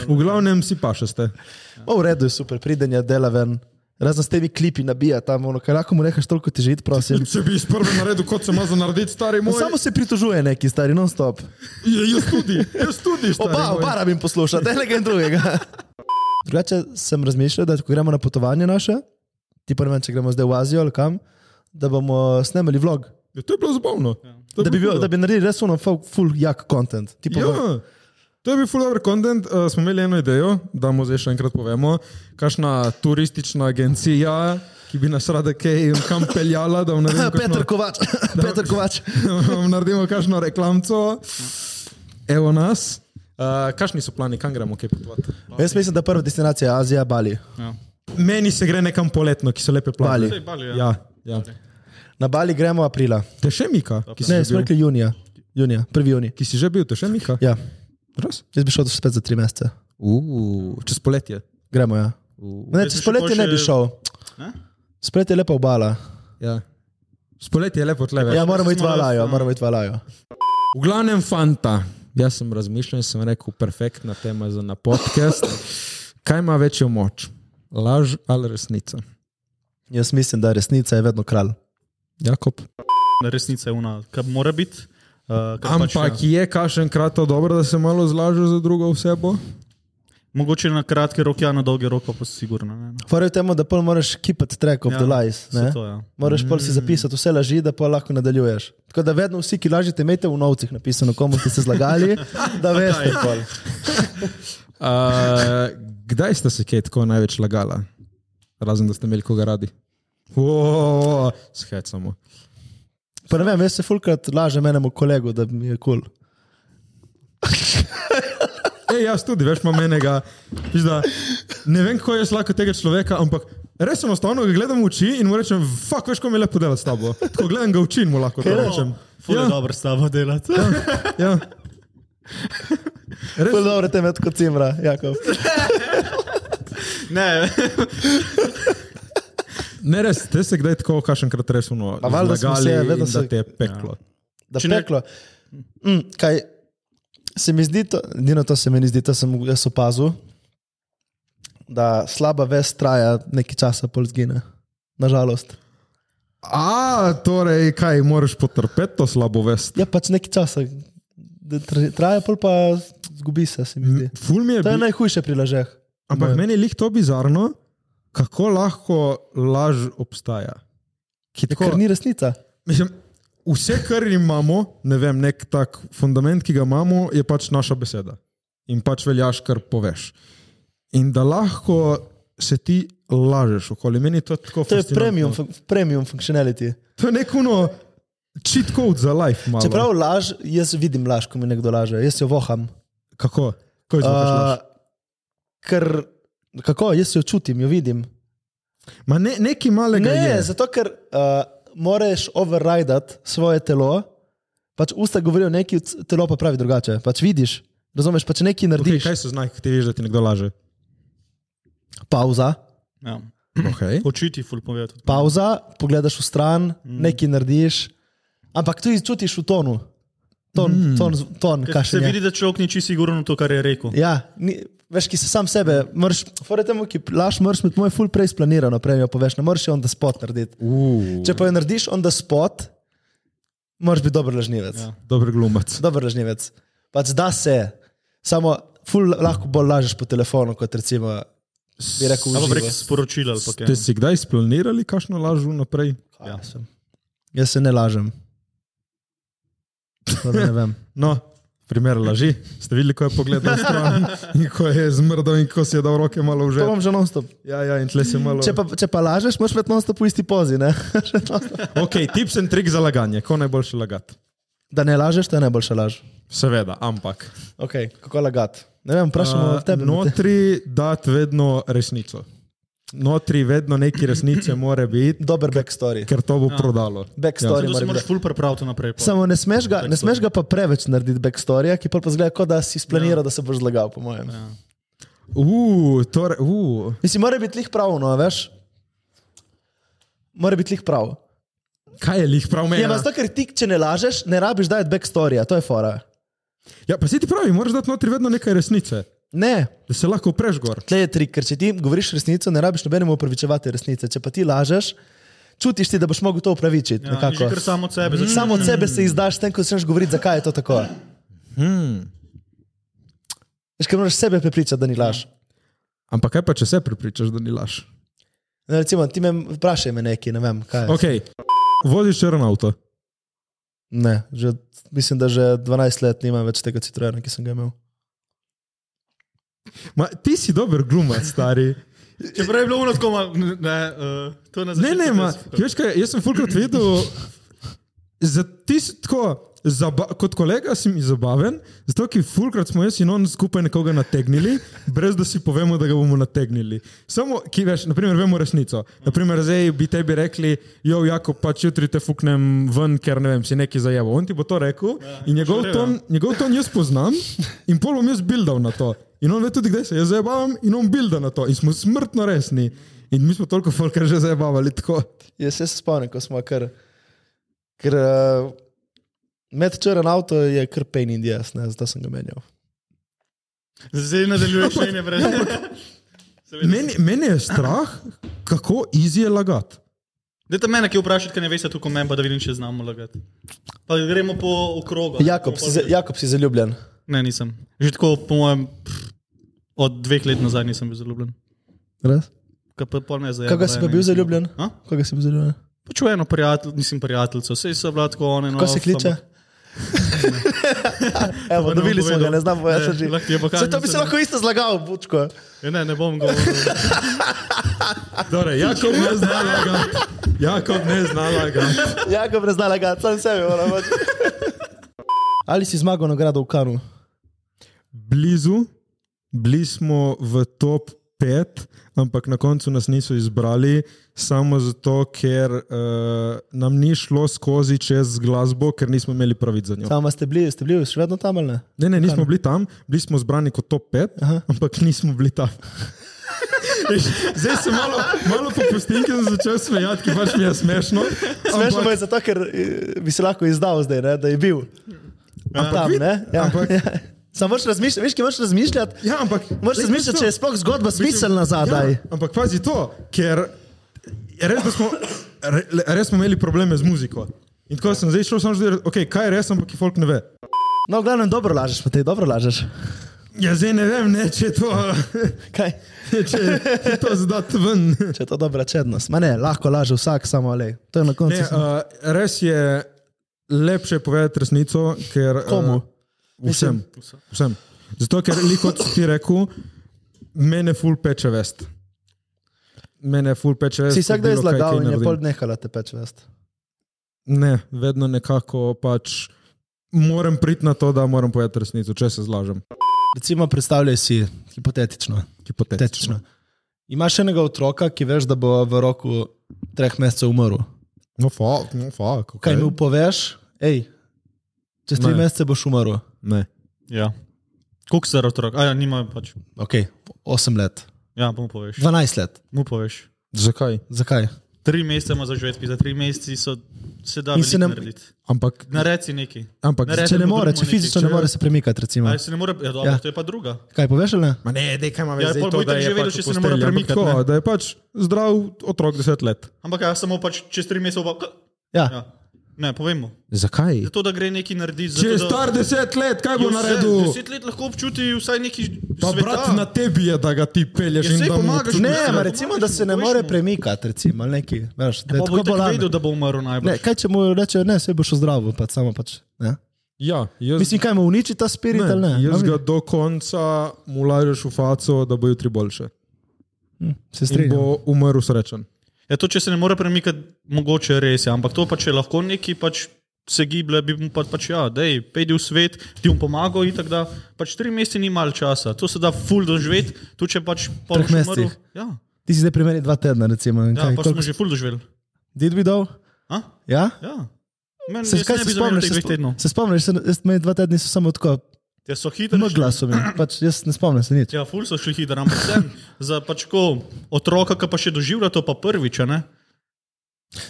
Speaker 1: V glavnem si pašaste.
Speaker 3: O, v redu je super, priden je delaven. Razen s temi klipi nabija tam, ono, kaj lahko mu rečeš toliko teži, prosim.
Speaker 1: Če bi iz prve naredil, kot sem za narediti, stari
Speaker 3: No,
Speaker 1: moj.
Speaker 3: samo se pritožuje neki stari non-stop.
Speaker 1: Ja, jaz tudi, jaz tudi. stari
Speaker 3: Oba,
Speaker 1: moj.
Speaker 3: oba rabim poslušati, enega in drugega. Drugače sem razmišljal, da ko gremo na potovanje naše, ti pa ne vem, če gremo zdaj v Azijo ali kam, da bomo snemali vlog.
Speaker 1: Ja, to je bilo zabavno. To je
Speaker 3: Da bi, bil,
Speaker 1: bilo-
Speaker 3: da bi naredili res ono full, full jak content. Ti pa v-
Speaker 1: Ja, to je bil full over content. Uh, smo imeli eno idejo, da mu zdaj še enkrat povemo. Kakšna turistična agencija, ki bi nas rada kaj in kam peljala, da vam naredimo
Speaker 3: Peter
Speaker 1: kakšno-
Speaker 3: Kovač, Peter Kovač.
Speaker 1: da vam naredimo kakšno reklamco. Evo nas. Uh, kakšni so plani, kam gremo, kaj potovati?
Speaker 3: Jaz mislim, da prva destinacija je Azija, Bali.
Speaker 4: Ja.
Speaker 1: Meni se gre nekam poletno, ki so lepe
Speaker 3: Bali.
Speaker 1: plaže.
Speaker 4: Saj Bali, ja.
Speaker 1: Ja, ja.
Speaker 3: Na Bali gremo aprila.
Speaker 1: Te še Mika, ki si,
Speaker 3: Ne,
Speaker 1: že
Speaker 3: smo
Speaker 1: bil,
Speaker 3: rekli junija. Junija, prvi junij.
Speaker 1: ki si že bil, te še Mika.
Speaker 3: Ja,
Speaker 1: Res?
Speaker 3: jaz bi šel spet za tri mesece.
Speaker 1: Uh, čez poletje.
Speaker 3: Gremo, ja. Ne,
Speaker 4: Jaz bi
Speaker 3: čez
Speaker 4: šel
Speaker 3: poletje
Speaker 4: pol
Speaker 3: ne bi
Speaker 4: še-
Speaker 3: šel.
Speaker 4: Ne?
Speaker 3: Splet je lepa obala.
Speaker 1: Ja. Spoletje je lepo tleve.
Speaker 3: Ja, moramo iti v
Speaker 4: smo res,
Speaker 3: Alajo,
Speaker 4: no.
Speaker 3: moramo iti v Alajo.
Speaker 1: V glavnem, fanta. Jaz sem razmišljal in sem rekel, perfektna tema za na podcast. Kaj ima večjo moč? Laž ali resnica?
Speaker 3: Jaz mislim, da resnica je vedno kralj.
Speaker 1: Jakob.
Speaker 4: Resnica je una, kar mora biti. Uh, kar
Speaker 1: Ampak
Speaker 4: pač, ja.
Speaker 1: je kašen krat to dobro, da se malo zlažeš za drugo osebo?
Speaker 4: Mogoče na kratki rok, ja, na dolgi rok pa pa sigurno. Ne?
Speaker 3: Prvi je temu, da pol moraš keepati track of ja,
Speaker 4: Ja,
Speaker 3: the lies.
Speaker 4: saj
Speaker 3: ne.
Speaker 4: to, ja.
Speaker 3: Moraš pol si zapisati vse laži, da pa lahko nadaljuješ. Tako da vedno vsi, ki lažete, imejte v novcih napisano, komu ste se zlagali, da veste. pol.
Speaker 1: Uh, kdaj ste se kaj tako največ lagala? Razen da ste imeli koga radi. Wow, Shed samo.
Speaker 3: Pa ne vem, jaz se fulkrat lažem enemu kolegu, da mi je kul. Cool.
Speaker 1: Ej, jaz tudi, veš, imam enega. viš Da, ne vem, kako je slabo tega človeka, ampak res enostavno ga gledam v oči in mu rečem, fuk, veš, kako mi je lepo delati s tabo. Ko gledam ga v oči in mu lahko to rečem. Ja.
Speaker 4: Fule ja. dobro s tabo delati.
Speaker 1: Ja. Res,
Speaker 3: Kul dobro te med kot cimra, Jakob.
Speaker 4: ne,
Speaker 1: ne res, te se kdaj tako kašenkrat res uno.
Speaker 3: Pa valjda smo se, vedno
Speaker 1: da
Speaker 3: se-
Speaker 1: te je peklo.
Speaker 3: Da
Speaker 4: Če ne-
Speaker 3: peklo. Mm, kaj se mi zdi, to- edino to se mi ne zdi, to sem jaz opazil, da slaba vest traja nekaj časa, pol zgine. Nažalost.
Speaker 1: Ja. A, torej, kaj, moraš potrpeti to slabo vest?
Speaker 3: Ja, pač nekaj časa. da tra- Traja pol pa zgubi se, se mi zdi.
Speaker 1: Ful mi je
Speaker 3: To je
Speaker 1: bilo.
Speaker 3: najhujše pri lažeh.
Speaker 1: Ampak meni je lih to bizarno, kako lahko laž obstaja. Ki
Speaker 3: Ja, Ker ni resnica.
Speaker 1: Mislim, vse, kar imamo, ne vem, nek tak fundament, ki ga imamo, je pač naša beseda. In pač veljaš, kar poveš. In da lahko se ti lažeš okoli. Meni to je tako
Speaker 3: To je
Speaker 1: fascinantno.
Speaker 3: premium, fun- premium functionality.
Speaker 1: To je neko no, cheat code za life. Malo.
Speaker 3: Čeprav laž, jaz vidim laž, ko mi nekdo laže, jaz jo voham.
Speaker 1: Kako? Kako je uh,
Speaker 3: Uh, ker, kako jaz jo čutim, jo vidim.
Speaker 1: Ma ne, neki malega
Speaker 3: Ne,
Speaker 1: je.
Speaker 3: zato ker uh, moraš overridati svoje telo. Pač usta govorijo nekaj, c- telo pa pravi drugače. Pač vidiš, razumeš, pa če nekaj
Speaker 1: Okay,
Speaker 3: narediš,
Speaker 1: kaj so znaki, ki ti veš, da ti nekdo laže?
Speaker 3: pauza,
Speaker 4: ja.
Speaker 1: Okay.
Speaker 4: Oči ti ful povejo tudi.
Speaker 3: pauza, pogledaš v stran, mm. nekaj narediš, ampak tudi čutiš v tonu, ton, mm. ton, ton
Speaker 4: Ker Se
Speaker 3: kašelja.
Speaker 4: vidi, da človek ni čisto siguren v to, kar je rekel.
Speaker 3: Ja, ni, Veš, ki se sam sebe, mrš, fore temu, ki laž mrš, med moj full prej splanirano, prej jo poveš, ne moreš je on da spot narediti.
Speaker 1: Uuu,
Speaker 3: Če pa jo narediš on da spot, moraš biti dober lažnivec. Ja.
Speaker 1: dober glumac.
Speaker 3: Dober lažnivec. Pač da se, samo ful lahko bolj lažeš po telefonu, kot recimo bi rekel,
Speaker 4: Ali pa
Speaker 3: uživo.
Speaker 4: prek sporočila ali pa kaj.
Speaker 1: Ste si kdaj splanirali kakšno lažu naprej?
Speaker 3: Ja. Jaz se ne lažem. Tako da Ne vem.
Speaker 1: No, primer laži. Ste videli, ko je pogledal stran in ko je zmrdal in ko si je dal roke malo v
Speaker 3: To
Speaker 1: žep.
Speaker 3: imam že non-stop.
Speaker 1: Ja, ja, in tle se malo.
Speaker 3: Če pa, če pa lažeš, moraš biti non-stop v isti pozi. Ne?
Speaker 1: Ok, tips in trik za laganje. Ko najboljše lagati?
Speaker 3: Da ne lažeš, to je najboljša laž.
Speaker 1: Seveda, ampak.
Speaker 3: Okay, kako lagati? Ne vem, vprašamo uh,
Speaker 1: A,
Speaker 3: tebe. Not...
Speaker 1: notri dati vedno resnico. Notri vedno neki resnice mora biti,
Speaker 3: Dober backstory.
Speaker 1: ker to bo prodalo.
Speaker 3: Backstory
Speaker 4: Zato
Speaker 3: mora
Speaker 4: se
Speaker 3: biti.
Speaker 4: moraš ful pripraviti naprej. pol.
Speaker 3: Samo ne smeš, ga, ne smeš ga pa preveč narediti backstory, ki pa zgleda, kot da si splaniral, ja. da se boš zlagal, po mojem. Ja.
Speaker 1: Uuu, torej, uuu.
Speaker 3: Mislim, mora biti lih pravno, veš? Mora biti lih prav.
Speaker 1: Kaj je lih prav meni?
Speaker 3: Ja, ja. zato ker ti, če ne lažeš, ne rabiš dajati backstoryja, to je fora.
Speaker 1: Ja, pa si ti pravi, moraš dati notri vedno nekaj resnice,
Speaker 3: Ne,
Speaker 1: da se lahko preš gor.
Speaker 3: tle je trik, ker če ti govoriš resnico, ne rabiš nobenemu upravičevati resnice. Če pa ti lažeš, čutiš ti, da boš mogel to upravičiti.
Speaker 4: Ja,
Speaker 3: nekako.
Speaker 4: že kar samo od
Speaker 1: Mm.
Speaker 4: sebe začneš.
Speaker 3: Samo od sebe se izdaš, s tem, ko začneš govoriti, zakaj je to tako. Veš, ker moraš sebe prepričati, da ni laž.
Speaker 1: Ampak kaj pa, če se prepričaš, da ni laž?
Speaker 3: Ne, No, recimo, ti me vprašaj me nekaj, ne vem kaj. je.
Speaker 1: Ok, voziš črn avto.
Speaker 3: Ne, že, mislim, da že 12 let nimam več tega citrona, ki sem ga imel.
Speaker 1: Ma, ti si dober glumac, stari.
Speaker 4: Če prej je bilo uno tako, ma, ne, uh, to ne
Speaker 1: Ne,
Speaker 4: začne
Speaker 1: ne, ma,
Speaker 4: brez-
Speaker 1: veš kaj, jaz sem fulkrat videl, za ti si tako, zaba, kot kolega si mi zabaven, zato ker fulkrat smo jaz in on skupaj nekoga nategnili, brez da si povemo, da ga bomo nategnili. Samo, ki veš, naprimer, vemo resnico. Naprimer, zdaj bi tebi rekli, jo, jako pač jutri te fuknem ven, ker ne vem, si neki zajeval. On ti bo to rekel in njegov
Speaker 4: že v redu.
Speaker 1: ton, njegov ton jaz poznam in pol bom jaz buildal na to. In on ve tudi, kdaj se jaz zabavam in on builda na to. In smo smrtno resni. In mi smo toliko folka že zabavali tako.
Speaker 3: Jaz se spomnim, ko smo kar. Ker uh, med črn avto je kar pain in jaz, ne, zato sem ga menjal.
Speaker 4: Zdaj nadaljuješ še ne
Speaker 1: Ja,
Speaker 4: brez.
Speaker 1: Meni, meni je strah, kako easy je lagati.
Speaker 4: Dajte mene, ki vprašate, kaj ne veste tukaj meni, pa da vidim, če znamo lagati. Pa gremo po okrogu.
Speaker 3: Jakob, si, za- Jakob si zaljubljen.
Speaker 4: Ne, nisem. Že tako, po mojem, pff, od dveh let nazaj nisem bil zaljubljen.
Speaker 3: Res?
Speaker 4: Kaj pa pol me je zajelo,
Speaker 3: Koga si pa
Speaker 4: da je
Speaker 3: bil
Speaker 4: ne,
Speaker 3: zaljubljen?
Speaker 4: A?
Speaker 3: Koga si bil zaljubljen?
Speaker 4: Pač v eno prijatelj, mislim prijateljico, vse so bila tako one. no,
Speaker 3: Ko se kliče? Evo,
Speaker 4: ne bom
Speaker 3: dobili smo ga,
Speaker 4: povedal.
Speaker 3: ne znam povedati.
Speaker 4: Ne, lahko ti jo pokažem,
Speaker 3: Saj To bi se
Speaker 4: samo.
Speaker 3: lahko isto zlagal, bučko.
Speaker 4: Ne, ne bom govoril.
Speaker 1: Torej, Jakob ne zna lagati. Jakob ne zna lagati.
Speaker 3: Jakob ne zna lagati, sam sebi moram reči. Ali si zmagal nagrado v Kanu?
Speaker 1: Blizu, bili smo v top 5, ampak na koncu nas niso izbrali, samo zato, ker uh, nam ni šlo skozi čez glasbo, ker nismo imeli pravic za njo.
Speaker 3: Sama ste bili, ste bili še vedno tam ali ne?
Speaker 1: Ne, ne, nismo bili tam, bili smo zbrani kot top 5, Aha. ampak nismo bili tam. Veš, Zdaj se malo, malo popustim, ker sem začel smejati, ki pač mi je smešno.
Speaker 3: Smešno
Speaker 1: ampak-
Speaker 3: mu je zato, ker eh, bi se lahko izdal zdaj, ne, da je bil. Ampak, tam,
Speaker 1: vid-
Speaker 3: ne? Ja.
Speaker 1: ampak-
Speaker 3: ja. Samo moraš razmišljati, veš, ki moraš razmišljati.
Speaker 1: Ja, ampak
Speaker 3: Moraš
Speaker 1: Lej,
Speaker 3: razmišljati,
Speaker 1: to-
Speaker 3: če je sploh zgodba smiselna zadaj.
Speaker 1: Ja, ampak pazi to, ker res, da smo, re, res smo imeli probleme z muziko. In tako sem zdaj šel, samo že, okay, kaj je res, ampak ki folk ne ve.
Speaker 3: No, v glavnem, dobro lažeš, pa te dobro lažeš.
Speaker 1: Ja, zdaj ne vem, ne, če je to,
Speaker 3: Kaj?
Speaker 1: če je to zdati ven.
Speaker 3: Če je to dobra čednost. Ma ne, lahko laže vsak, samo le. To je na koncu.
Speaker 1: Ne, uh, res je lepše povedati resnico, ker.
Speaker 3: Komu?
Speaker 1: Uh, vsem. vsem. Zato, ker, li kot si ti rekel, mene ful peče vest. Mene ful peče vest.
Speaker 3: si vsak dan
Speaker 1: bilo kaj, kaj
Speaker 3: izlagal in je
Speaker 1: naredim.
Speaker 3: pol nehala te peč vest.
Speaker 1: Ne, vedno nekako pač moram priti na to, da moram povedati resnico, če se zlažem.
Speaker 3: Recimo, predstavljaj si hipotetično.
Speaker 1: Hipotetično.
Speaker 3: hipotetično. Imaš enega otroka, ki veš, da bo v roku treh mesecev umrl.
Speaker 1: No, fuck, no, fuck. Okay.
Speaker 3: Kaj mu poveš, hej, čez tri
Speaker 1: Ne.
Speaker 3: mesece boš umrl.
Speaker 1: Ne.
Speaker 4: Ja. Koliko star otrok? A ja, nima pač.
Speaker 3: Ok, 8 let,
Speaker 4: Ja, mu poveš.
Speaker 3: 12 let.
Speaker 4: Mu poveš.
Speaker 1: Zakaj?
Speaker 3: Zakaj?
Speaker 4: Tri mesece ima za žvetki, za tri mesece so se da
Speaker 3: In se ne-
Speaker 4: veliko narediti.
Speaker 1: Ampak,
Speaker 4: Nareci neki.
Speaker 1: ampak
Speaker 4: Ne,
Speaker 3: Če ne
Speaker 4: Recimo,
Speaker 3: more, če
Speaker 4: drugemu
Speaker 3: fizično ne
Speaker 4: nekaj, če-
Speaker 3: more se premikati, recimo.
Speaker 4: Ali se ne more, ja, dobro,
Speaker 3: Ja.
Speaker 4: ja. to je pa druga.
Speaker 3: Kaj poveš, ali ne?
Speaker 1: Ma ne, dej, kaj ima
Speaker 4: Ja,
Speaker 1: veze
Speaker 4: pol
Speaker 1: to,
Speaker 4: bo
Speaker 1: da
Speaker 4: itak že
Speaker 1: je
Speaker 4: vedel,
Speaker 1: pač v
Speaker 4: če se ne more
Speaker 1: postelji, ampak
Speaker 4: premikati,
Speaker 1: tako,
Speaker 4: ne.
Speaker 1: da je pač zdrav otrok 10 let.
Speaker 4: Ampak ja, samo pač čez tri mesece pa. k-
Speaker 3: Ja.
Speaker 4: Ja. Ne, povemo.
Speaker 1: Zakaj?
Speaker 4: Ja, Zato, da gre neki narediti za
Speaker 1: Če
Speaker 4: to.
Speaker 1: je
Speaker 4: da-
Speaker 1: star 10 let, kaj bo
Speaker 4: Ja, vse,
Speaker 1: naredil?
Speaker 4: Deset let lahko občuti vsaj neki
Speaker 1: Pa
Speaker 4: sveta.
Speaker 1: brat na tebi je, da ga ti pelješ
Speaker 4: Ja,
Speaker 1: in
Speaker 4: saj
Speaker 1: da mu
Speaker 4: pomagaš,
Speaker 1: tudi-
Speaker 3: Ne,
Speaker 4: Ja,
Speaker 3: ma
Speaker 4: ja,
Speaker 3: recimo,
Speaker 4: pomagaš
Speaker 3: da
Speaker 4: mu,
Speaker 3: se ne
Speaker 4: poveš
Speaker 3: more
Speaker 4: mu.
Speaker 3: premikati, recimo, ali neki, veš, da je
Speaker 4: Pa bo
Speaker 3: tako
Speaker 4: itak
Speaker 3: bolan.
Speaker 4: vedel, da bo umrl najbolj.
Speaker 3: Ne, kaj če mu rečejo, ne, se boš zdrav, pa samo pač. Ne?
Speaker 1: Ja, jaz,
Speaker 3: Mislim, kaj mu uniči ta spirit ali ne?
Speaker 1: ne, jaz
Speaker 3: A
Speaker 1: ga
Speaker 3: vidi,
Speaker 1: do konca mulažeš v faco, da bo jutri boljše.
Speaker 3: se
Speaker 1: In
Speaker 3: strinjam.
Speaker 1: bo umrl srečen.
Speaker 4: Ja, to, če se ne more premikati, mogoče res je, ampak to pa če lahko neki pač se giblje, bi mu pa, pač ja, dej, pejdi v svet, ti bom pomagal in tako da. Pač tri mesece ni malo časa, to se da ful doživeti, tu če pač pol
Speaker 3: Treh mesecih.
Speaker 4: Ja,
Speaker 3: Ti si zdaj pri meni dva tedna, recimo. in
Speaker 4: ja
Speaker 3: Kaj,
Speaker 4: pač
Speaker 3: koliko
Speaker 4: smo že ful doživeli.
Speaker 3: Did we do?
Speaker 4: A?
Speaker 3: Ja?
Speaker 4: Ja. Meni
Speaker 3: Se,
Speaker 4: se
Speaker 3: kaj se spomniš? Se,
Speaker 4: dveh
Speaker 3: spo,
Speaker 4: tednov.
Speaker 3: se spomniš, se, jaz me dva tedna so samo tako,
Speaker 4: Ja, so hitri.
Speaker 3: mgla so mi, pač jaz ne spomnim se nič.
Speaker 4: Ja, ful so šli hitro, ampak vsem, za pač ko otroka, ki pa še doživlja to pa prvič, a ne?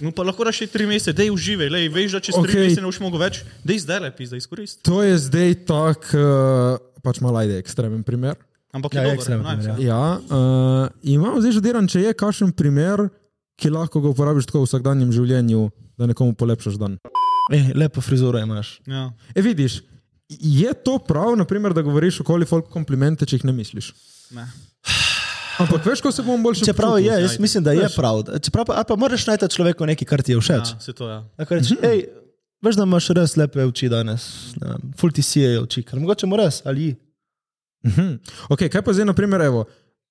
Speaker 4: No, pa lahko raši tri mesece, dej uživaj, lej, veš, da čez okay.
Speaker 1: Okej.
Speaker 4: tri mesece ne boš mogel več, dej zdaj lepi, zdaj izkoristi.
Speaker 1: To je zdaj tak, uh, pač malo ajde, ekstremen primer.
Speaker 4: Ampak
Speaker 3: Ja,
Speaker 4: je
Speaker 3: ekstremen
Speaker 4: dobro, najbolj.
Speaker 3: primer,
Speaker 1: Ja, uh, imam zdaj že deran, če je kakšen primer, ki lahko ga uporabiš tako v vsakdanjem življenju, da nekomu polepšaš dan.
Speaker 3: Eh, lepo frizuro imaš.
Speaker 4: ja.
Speaker 1: E, vidiš, je to prav, naprimer, da govoriš okoli folk komplimente, če jih ne misliš.
Speaker 4: Ne.
Speaker 1: Ampak veš, ko se bom boljše
Speaker 3: Čeprav
Speaker 1: počutil.
Speaker 3: je,
Speaker 1: ja.
Speaker 3: jaz
Speaker 4: ajde.
Speaker 3: mislim, da je prav. da- Čeprav pa, ali pa moraš najti človeku nekaj, kar ti je
Speaker 4: ja,
Speaker 3: všeč.
Speaker 4: se to ja.
Speaker 3: Lahko rečeš, hej, veš, da imaš res lepe oči danes, ne vem, ful ti sijejo oči, ker mogoče mu res ali ji.
Speaker 1: Mhm. Okay, kaj pa zdaj, na primer, evo,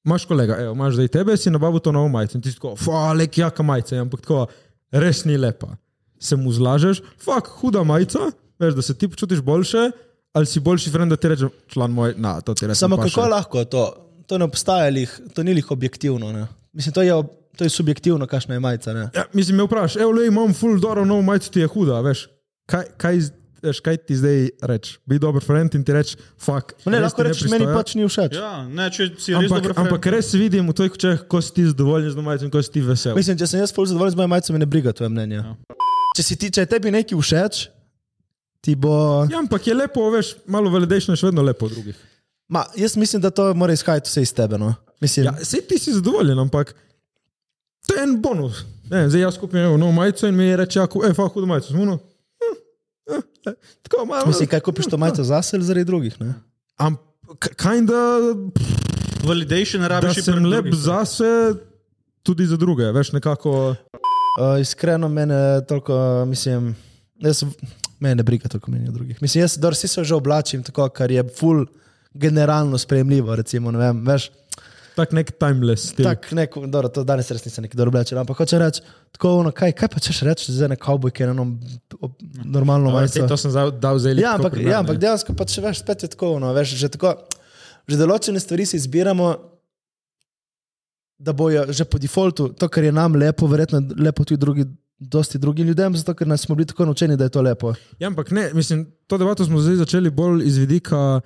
Speaker 1: imaš kolega, evo, imaš zdaj tebe, si nabavu to novo majico in ti si tako, falek, jaka majica, je," ampak tako, res ni lepa. Se mu zlažeš, fuk, huda majica, veš, da se ti počutiš boljše, ali si boljši friend, da ti rečem, član moj, na, to ti rečem.
Speaker 3: Samo kako lahko to? To ne obstaja, lih, to ni lih objektivno. Ne? Mislim, to je, ob- to je subjektivno, kakšna je majica. Ne?
Speaker 1: Ja, mislim, me vprašaš, evo, le imam full dobro novo majico, ti je huda, veš. Kaj, kaj, z- veš, kaj ti zdaj reč? Bi dober friend in ti reč, fuk.
Speaker 3: Ma Ne, lahko rečeš, meni pač ni všeč. Ja.
Speaker 4: ja, ne, če si res
Speaker 1: Ampak,
Speaker 4: dobro.
Speaker 1: ampak res vidim v tvojih očeh, ko si ti zadovoljen z majico in ko si ti vesel.
Speaker 3: Mislim, če sem jaz bolj zadovoljen z mojo majico, me ne briga tvoje mnenje. Ja. Če, si ti, če je tebi nekaj všeč, ti bo.
Speaker 1: Ja,
Speaker 3: Ja.
Speaker 1: ampak je lepo, veš, malo veledejšno je še vedno lepo od drugih.
Speaker 3: Ma, jaz mislim, da to mora izhajati vse iz tebe. No? Mislim,
Speaker 1: Ja,
Speaker 3: ja.
Speaker 1: sej ti si zadovoljen, ampak to je en bonus. Ne, vem, zdaj jaz kupim eno novo majico in mi reče, ako, e, fa, hudo majico, zmuno. eh, Tako malo. Hm, eh,
Speaker 3: mislim, kaj kupiš to majico zase ali zaradi drugih. Ne?
Speaker 1: Am, k- kinda,
Speaker 4: Validation
Speaker 1: da
Speaker 4: rabiš
Speaker 1: sem lep zase, tudi za druge, veš, nekako.
Speaker 3: Uh, iskreno, mene toliko, mislim, jaz, mene ne briga toliko meni drugih. Mislim, jaz dobro, vsi se že oblačim tako, kar je full generalno sprejemljivo, recimo, ne vem, veš.
Speaker 1: Tak nek timeless stil.
Speaker 3: Tak, neko, dobro, to danes res nisem neki dobro oblečen, ampak hoče reči, tako ono, kaj, kaj pa češ reči za ene kavbojke, eno ob- normalno majico.
Speaker 1: okay, to sem za- dal za
Speaker 3: Ja, ampak, ja, ampak dejansko pa če veš, spet je tako, no, veš, že tako, že določene stvari si izbiramo, da bojo že po defaultu to, kar je nam lepo, verjetno je lepo tudi drugi, dosti drugim ljudem, zato ker nas smo bili tako naučeni, da je to lepo.
Speaker 1: Ja, ampak ne, mislim, to debato smo zdaj začeli bolj iz vidika.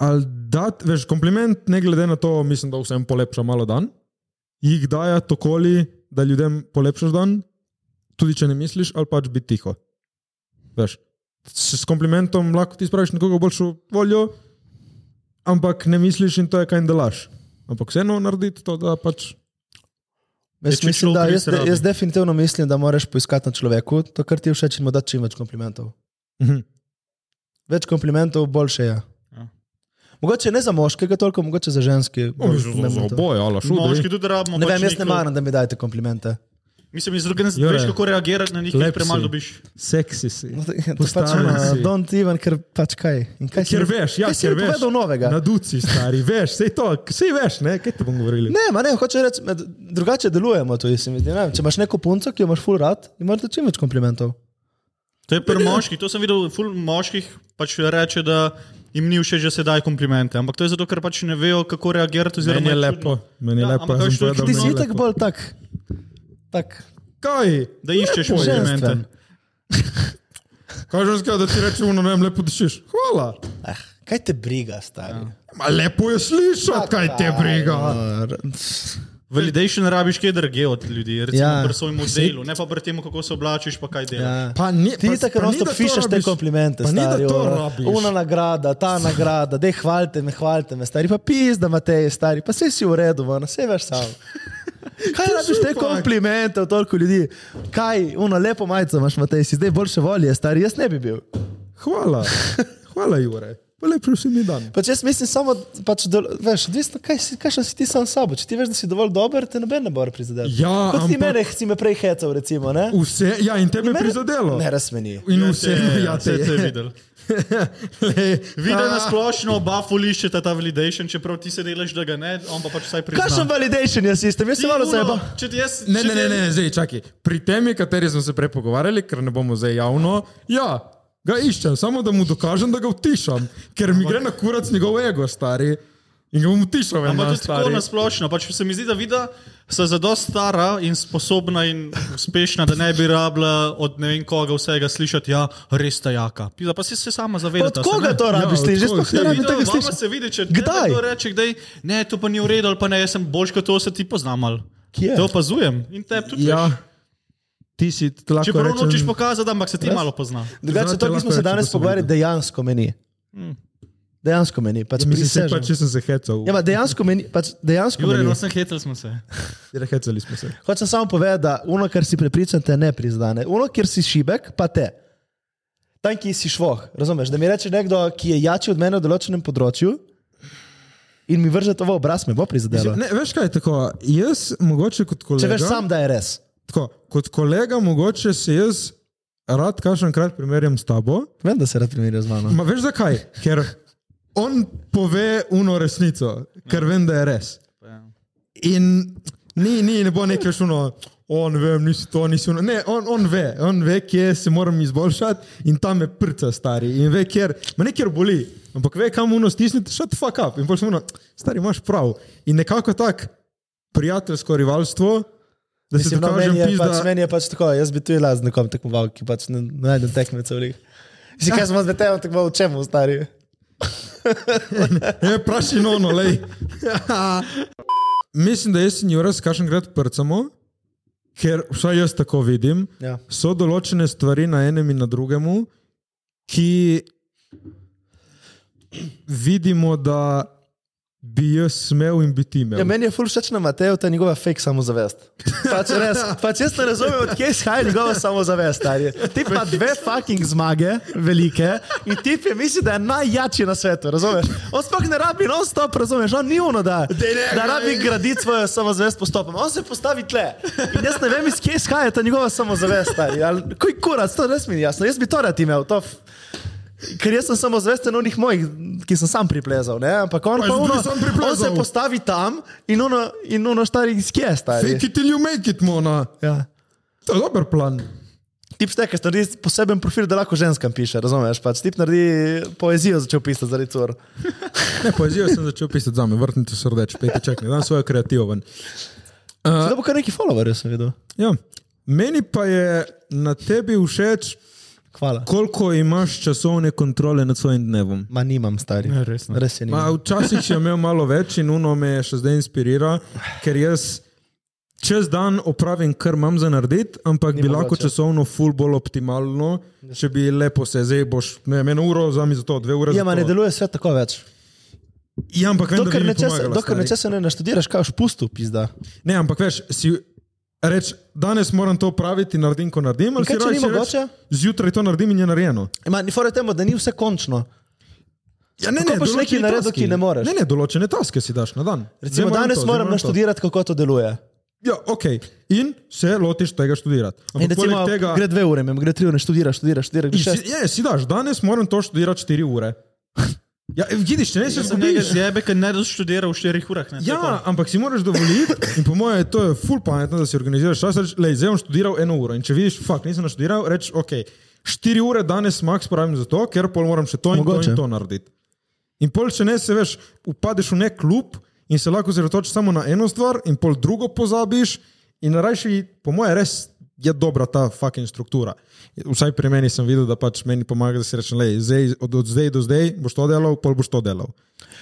Speaker 1: Ali dati, veš, kompliment, ne glede na to, mislim, da vsem polepša malo dan, jih daja tokoli, da ljudem polepšaš dan, tudi če ne misliš, ali pač biti tiho. Veš, s s komplimentom lahko ti spraviš nekoga v boljšo voljo, ampak ne misliš in to je kaj in delaš. Ampak vseeno narediti to, da pač.
Speaker 3: Jaz,
Speaker 4: Ja, če
Speaker 3: mislim, da,
Speaker 4: človek
Speaker 3: jaz,
Speaker 4: res rabi.
Speaker 3: jaz definitivno mislim, da moraš poiskati na človeku to, kar ti je všeč in mu dati čim več komplimentov.
Speaker 1: Mhm.
Speaker 3: Več komplimentov, boljše je.
Speaker 4: Ja.
Speaker 3: Mogoče ne za moškega, toliko mogoče za ženski. bolj pomembno to.
Speaker 1: ali
Speaker 4: Moški tudi rabimo.
Speaker 3: Ne
Speaker 4: pač
Speaker 3: vem, jaz ne
Speaker 4: neko-
Speaker 3: maram, da mi dajete komplimente.
Speaker 4: Mislim, iz druge ne
Speaker 1: Jure.
Speaker 4: veš, kako reagirati na
Speaker 1: Lep
Speaker 4: nekaj,
Speaker 1: si.
Speaker 4: premalo dobiš.
Speaker 1: Seksi si.
Speaker 3: No, to- to pač
Speaker 1: Postavljen
Speaker 3: ono,
Speaker 1: si.
Speaker 3: Don't even, ker pač kaj. In kaj si
Speaker 1: Ker
Speaker 3: mi-
Speaker 1: veš, ja,
Speaker 3: kaj si
Speaker 1: ker
Speaker 3: mi
Speaker 1: veš.
Speaker 3: povedal novega?
Speaker 1: Na duci, stari, veš, sej to, sej veš, ne, kaj ti bomo govorili.
Speaker 3: Ne, ma ne, hoče reči, med- drugače delujemo. Tudi, se mi zdi, ne vem. Če imaš neko punco, ki jo imaš full rad, imaš čim več komplimentov.
Speaker 4: To je pri moških, to sem videl, ful moških pač reče, da jim ni všeč, da se dajo komplimente, ampak to je zato, ker pač ne vejo, kako reagirati. oziroma
Speaker 1: Meni je
Speaker 4: čudno.
Speaker 1: lepo, meni je
Speaker 4: Ja,
Speaker 1: lepo,
Speaker 4: ampak
Speaker 1: jaz
Speaker 4: kaj
Speaker 1: sem
Speaker 4: šlo-
Speaker 1: povedal,
Speaker 3: Ti
Speaker 1: meni
Speaker 3: si
Speaker 1: je
Speaker 3: tako
Speaker 1: lepo.
Speaker 3: bolj tak. tak
Speaker 1: Kaj?
Speaker 4: Da iščeš
Speaker 1: Lepo je.
Speaker 4: komplimente.
Speaker 3: ženstven.
Speaker 1: Kaj že skaj, da ti rečem, no vem, lepo dišiš. Hvala.
Speaker 3: Ah, kaj
Speaker 1: Ja.
Speaker 3: te briga, stari? no.
Speaker 1: Ma lepo je slišati, kaj te briga.
Speaker 3: Ja.
Speaker 4: Validation rabiš kaj drugega od ljudi, recimo
Speaker 3: Ja.
Speaker 4: ja. pri svojem delu, ne pa pri tem, kako se oblačiš, pa kaj delaš. Ja.
Speaker 1: Pa ni,
Speaker 3: Ti
Speaker 1: pa-
Speaker 3: tako
Speaker 1: pa ni,
Speaker 3: enostavno
Speaker 1: da to
Speaker 3: pišeš te
Speaker 1: rabiš.
Speaker 3: komplimente.
Speaker 1: Pa ni, da
Speaker 3: stari,
Speaker 1: to
Speaker 3: ono,
Speaker 1: rabiš.
Speaker 3: Ona nagrada, ta nagrada, dej hvalite me, hvalite me, stari pa pizda, Matej, stari pa vse si v redu, vana, vse veš sam. Kaj rabiš te komplimente od toliko ljudi? Kaj, ono lepo majico imaš, Matej, si zdaj boljše volje, stari, jaz ne bi bil.
Speaker 1: Hvala. Hvala, Jure. Pa lep prosimi dan.
Speaker 3: Pač jaz mislim samo, pač, do, veš, odvisno, kaj si, kakšen si ti sam s sabo. Če ti veš, da si dovolj dober, te noben ne bo prizadeval.
Speaker 1: Ja,
Speaker 3: Kot ti
Speaker 1: ampak-
Speaker 3: mene, si me prej hecal, recimo, ne?
Speaker 1: Vse, ja, in tebe je prizadelo.
Speaker 3: Ne, razmeni.
Speaker 1: In vse, ja,
Speaker 4: vse
Speaker 1: te
Speaker 4: to je videl. Videl
Speaker 1: A.
Speaker 4: na splošno, oba fuliščeta ta validation, čeprav ti se delaš, da ga ne, on pa pač vsaj prizna.
Speaker 3: Kakšen validation je sistem? Jaz
Speaker 4: Ti,
Speaker 3: se malo
Speaker 4: ono,
Speaker 3: seba.
Speaker 4: Če ti jaz,
Speaker 1: Ne,
Speaker 4: če
Speaker 1: ne,
Speaker 4: ti-
Speaker 1: ne, ne, zdaj čakaj. Pri temi, kateri smo se prej pogovarjali, ker ne bomo zdaj javno, ja, ga iščem, samo da mu dokažem, da ga utišam, ker mi gre na kurac njegov ego, stari. In ga bom utišal,
Speaker 4: Ampak
Speaker 1: ena,
Speaker 4: tudi tako
Speaker 1: stari.
Speaker 4: na splošno. Pač se mi zdi, da vida se za dosti stara in sposobna in uspešna, da ne bi rabila od ne vem koga vsega slišati, ja, res ta jaka. Pizda, pa si se sama zavedala.
Speaker 3: Od koga to rabiš?
Speaker 1: Ja,
Speaker 3: Ti
Speaker 1: od
Speaker 3: že
Speaker 1: koga?
Speaker 3: sploh ne
Speaker 1: Ja,
Speaker 3: rabiš
Speaker 4: Videl,
Speaker 3: tega
Speaker 4: vama
Speaker 3: slišati.
Speaker 4: se vidi, če
Speaker 3: Kdaj?
Speaker 4: kdo reče, kdaj, ne, to pa ni v redu, ali pa ne, jaz sem boljši kot to, se ti poznam. ali."
Speaker 3: Kje?
Speaker 4: Te opazujem in te tudi.
Speaker 1: Ja,
Speaker 4: Ja.
Speaker 1: ti si t- lahko.
Speaker 4: Če prav
Speaker 1: rečem-
Speaker 4: nočeš pokazati, ampak se ti malo pozna.
Speaker 3: Drugače,
Speaker 1: Znate
Speaker 3: to, ki
Speaker 1: lahko
Speaker 3: smo se
Speaker 1: reči, da
Speaker 3: danes
Speaker 1: sem
Speaker 3: pogovarjali, dejansko meni. Hmm. Dejansko meni. Pač
Speaker 1: Mislim, se pa,
Speaker 3: prisežem.
Speaker 1: če sem se hecal.
Speaker 3: Ja, ma dejansko meni. Pač dejansko
Speaker 4: Jure,
Speaker 3: meni.
Speaker 4: no, sem hetel, smo se.
Speaker 1: Hecali smo se.
Speaker 3: Hočem samo povedati, da ono, kar si prepričan, te ne priznane. Ono, kjer si šibek, pa te. Tam, ki si švoh. Razumeš? Da mi reče nekdo, ki je jači od mene v določenem področju in mi vrže to v obraz, me bo prizadelo.
Speaker 1: Ne, veš kaj je tako? Jaz mogoče kot kolega.
Speaker 3: Če Ja, veš sam, da je res.
Speaker 1: Tako, kot kolega, mogoče se jaz rad kažemkrat primerjam s tabo.
Speaker 3: Vem, da se rad primerja z mano.
Speaker 1: Ma veš zakaj? Ker on pove uno resnico, ker vem, da je res. In ni, ni ne bo nekaj šuno, on vem, nisi to, nisi ono. Ne, on, on ve, on ve, kje se moram izboljšati in tam me prca stari. In ve, kjer, ma ne kjer boli, ampak ve, kam uno stisniti, shut the fuck up. In potem uno, stari imaš prav. In nekako tak prijateljsko rivalstvo, da se
Speaker 3: Mislim, no,
Speaker 1: dokažem
Speaker 3: meni, je
Speaker 1: pizda.
Speaker 3: pač, meni je pač tako, jaz bi tu jaz z nekom tekmoval, ki pač ne ne najdem tekmecev. glih. Mislim, kaj smo z metejem tekmoval, v čemu stari?
Speaker 1: Ne, praši nono, E, lej. Mislim, da jaz in Jura s kažem grad prcamo, ker vsaj jaz tako vidim,
Speaker 3: Ja.
Speaker 1: so določene stvari na enem in na drugemu, ki vidimo, da bi jaz smel in bi ti imel.
Speaker 3: Ja, meni je ful všeč na Mateju ta njegova fake samozavest. Pač, res, pač jaz ne razumem, odkje izhaja njegova samozavest. stari. Tip ima dve fucking zmage, velike, in tip je misli, da je najjači na svetu, razumeš? On sploh ne rabi non-stop, razumeš? On ni uno, da, da rabi graditi svojo samozavest postopoma. On se postavi tle. In jaz ne vem, iz kje izhaja ta njegova samozavest. stari. Ali- Kuj kurac, to res mi ni jasno. Jaz bi to rad imel. To f- Ker jaz sem samo zvesten onih mojih, ki sem sam priplezal, ne? ampak on,
Speaker 1: Pa
Speaker 3: pa
Speaker 1: jaz tudi
Speaker 3: ono,
Speaker 1: sam
Speaker 3: on se
Speaker 1: priplezal.
Speaker 3: postavi tam in ono, in ono stari iz kje je stari.
Speaker 1: Fake it till you make it, mona.
Speaker 3: Ja.
Speaker 1: To je dober plan.
Speaker 3: Tip šteka, naredi poseben profil, da lahko ženskam piše, razumeš? Pač tip naredi poezijo, začel pisati zaradi cor.
Speaker 1: Ne, poezijo sem začel pisati za me, vrtnice srdeč, peti čakaj, dan svojo kreativo ven.
Speaker 3: Zdaj bo kar neki follower, sem videl.
Speaker 1: Ja. Meni pa je na tebi všeč,
Speaker 3: Hvala.
Speaker 1: Koliko imaš časovne kontrole nad svojim dnevom?
Speaker 3: Ma nimam stari. Ne, Ja, res, no. ne. res je nimam.
Speaker 1: Ma, včasih sem imel malo več in uno me še zdaj inspirira, ker jaz čez dan opravim, kar imam za narediti, ampak Ni bi lahko
Speaker 3: mogoče.
Speaker 1: časovno ful bolj optimalno, če bi lepo se zdaj boš, ne vem, eno uro, zami za to, dve ure.
Speaker 3: Ja, ma ne
Speaker 1: za to.
Speaker 3: deluje svet tako več.
Speaker 1: Ja, ampak vem,
Speaker 3: Dokler
Speaker 1: da bi mi
Speaker 3: nečesa
Speaker 1: pomagala,
Speaker 3: dokler
Speaker 1: stari.
Speaker 3: nečesa ne naštudiraš, kaj už pustu, pizda.
Speaker 1: Ne, ampak veš, si reč, danes moram to opraviti, naredim, ko naredim, ali
Speaker 3: kaj,
Speaker 1: si
Speaker 3: če ni
Speaker 1: rajši reč,
Speaker 3: mogoče?
Speaker 1: Zjutraj to naredim in je narejeno.
Speaker 3: Ma, ni fore temu, da ni vse končno.
Speaker 1: Ja, ne,
Speaker 3: Kako boš nekaj
Speaker 1: določeni
Speaker 3: naredil,
Speaker 1: taski.
Speaker 3: ki ne moreš?
Speaker 1: Ne, ne, določene taske si daš na dan. Zdaj
Speaker 3: Recimo, danes
Speaker 1: to, zdaj
Speaker 3: moram
Speaker 1: to.
Speaker 3: naštudirati, kako to deluje.
Speaker 1: Ja, ok. In se lotiš tega študirati.
Speaker 3: In
Speaker 1: Ampak
Speaker 3: recimo,
Speaker 1: poleg tega,
Speaker 3: gre dve ure, mem, gre tri ure, študiraš, študiraš, študiraš. gre
Speaker 1: In
Speaker 3: šest.
Speaker 1: si, je, si daš, danes moram to študirati 4 ure. Ja, e, vidiš, ne se
Speaker 4: Sem nekaj
Speaker 1: zgubiš.
Speaker 4: zjebe, ker ne doštudira v štirih urah. Ne,
Speaker 1: Ja, ampak si moraš dovoliti, in po mojem, to je ful pametno, da si organiziraš čas. Reči, lej, zdaj bom študiral eno uro. In če vidiš, fakt, nisem naštudiral, reči, ok, 4 ure danes max pravim za to, ker pol moram še to in Mogoče.
Speaker 3: Mogoče.
Speaker 1: to in to narediti. In pol, če ne, se veš, upadeš v nek klub in se lahko zredotočiš samo na eno stvar, in pol drugo pozabiš, in rajši, po mojem, res je dobra ta fucking struktura. Vsaj pri meni sem videl, da pač meni pomaga, da si rečem, lej, zdaj, od, od zdaj do zdaj boš to delal, pol boš to delal.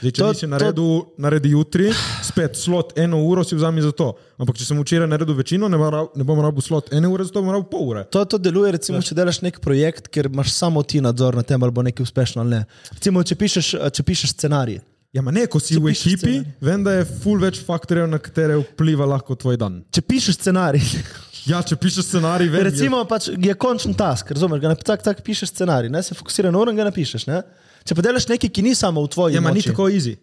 Speaker 1: Zdaj, če
Speaker 3: To-
Speaker 1: to, nisi
Speaker 3: to-
Speaker 1: naredil, to... naredi jutri, spet slot eno uro si vzami za to. Ampak če sem včeraj naredil večino, ne, bom rab, ne bom rabil slot ene ure, zato bom rabil pol ure.
Speaker 3: To, to
Speaker 1: Ja.
Speaker 3: deluje, recimo, če delaš nek projekt, ker imaš samo ti nadzor nad tem, ali bo nekaj uspešno ali ne. Recimo, če pišeš, eh, če pišeš scenarij.
Speaker 1: Ja, ma ne, ko si v
Speaker 3: pišeš
Speaker 1: ekipi,
Speaker 3: scenarij.
Speaker 1: vem, da je full več faktorjev, na katere vpliva lahko tvoj dan.
Speaker 3: Če pišeš scenarij,
Speaker 1: Ja, če pišeš scenarij, vem,
Speaker 3: recimo, pač je končen task, razumeš, ga ne tak, tak pišeš scenarij, ne se fokusiraš na uro in ga napišeš. Ne? Če pa delaš nekaj, ki ni samo v tvoji,
Speaker 1: je, ja, ma ni
Speaker 3: moči,
Speaker 1: tako easy.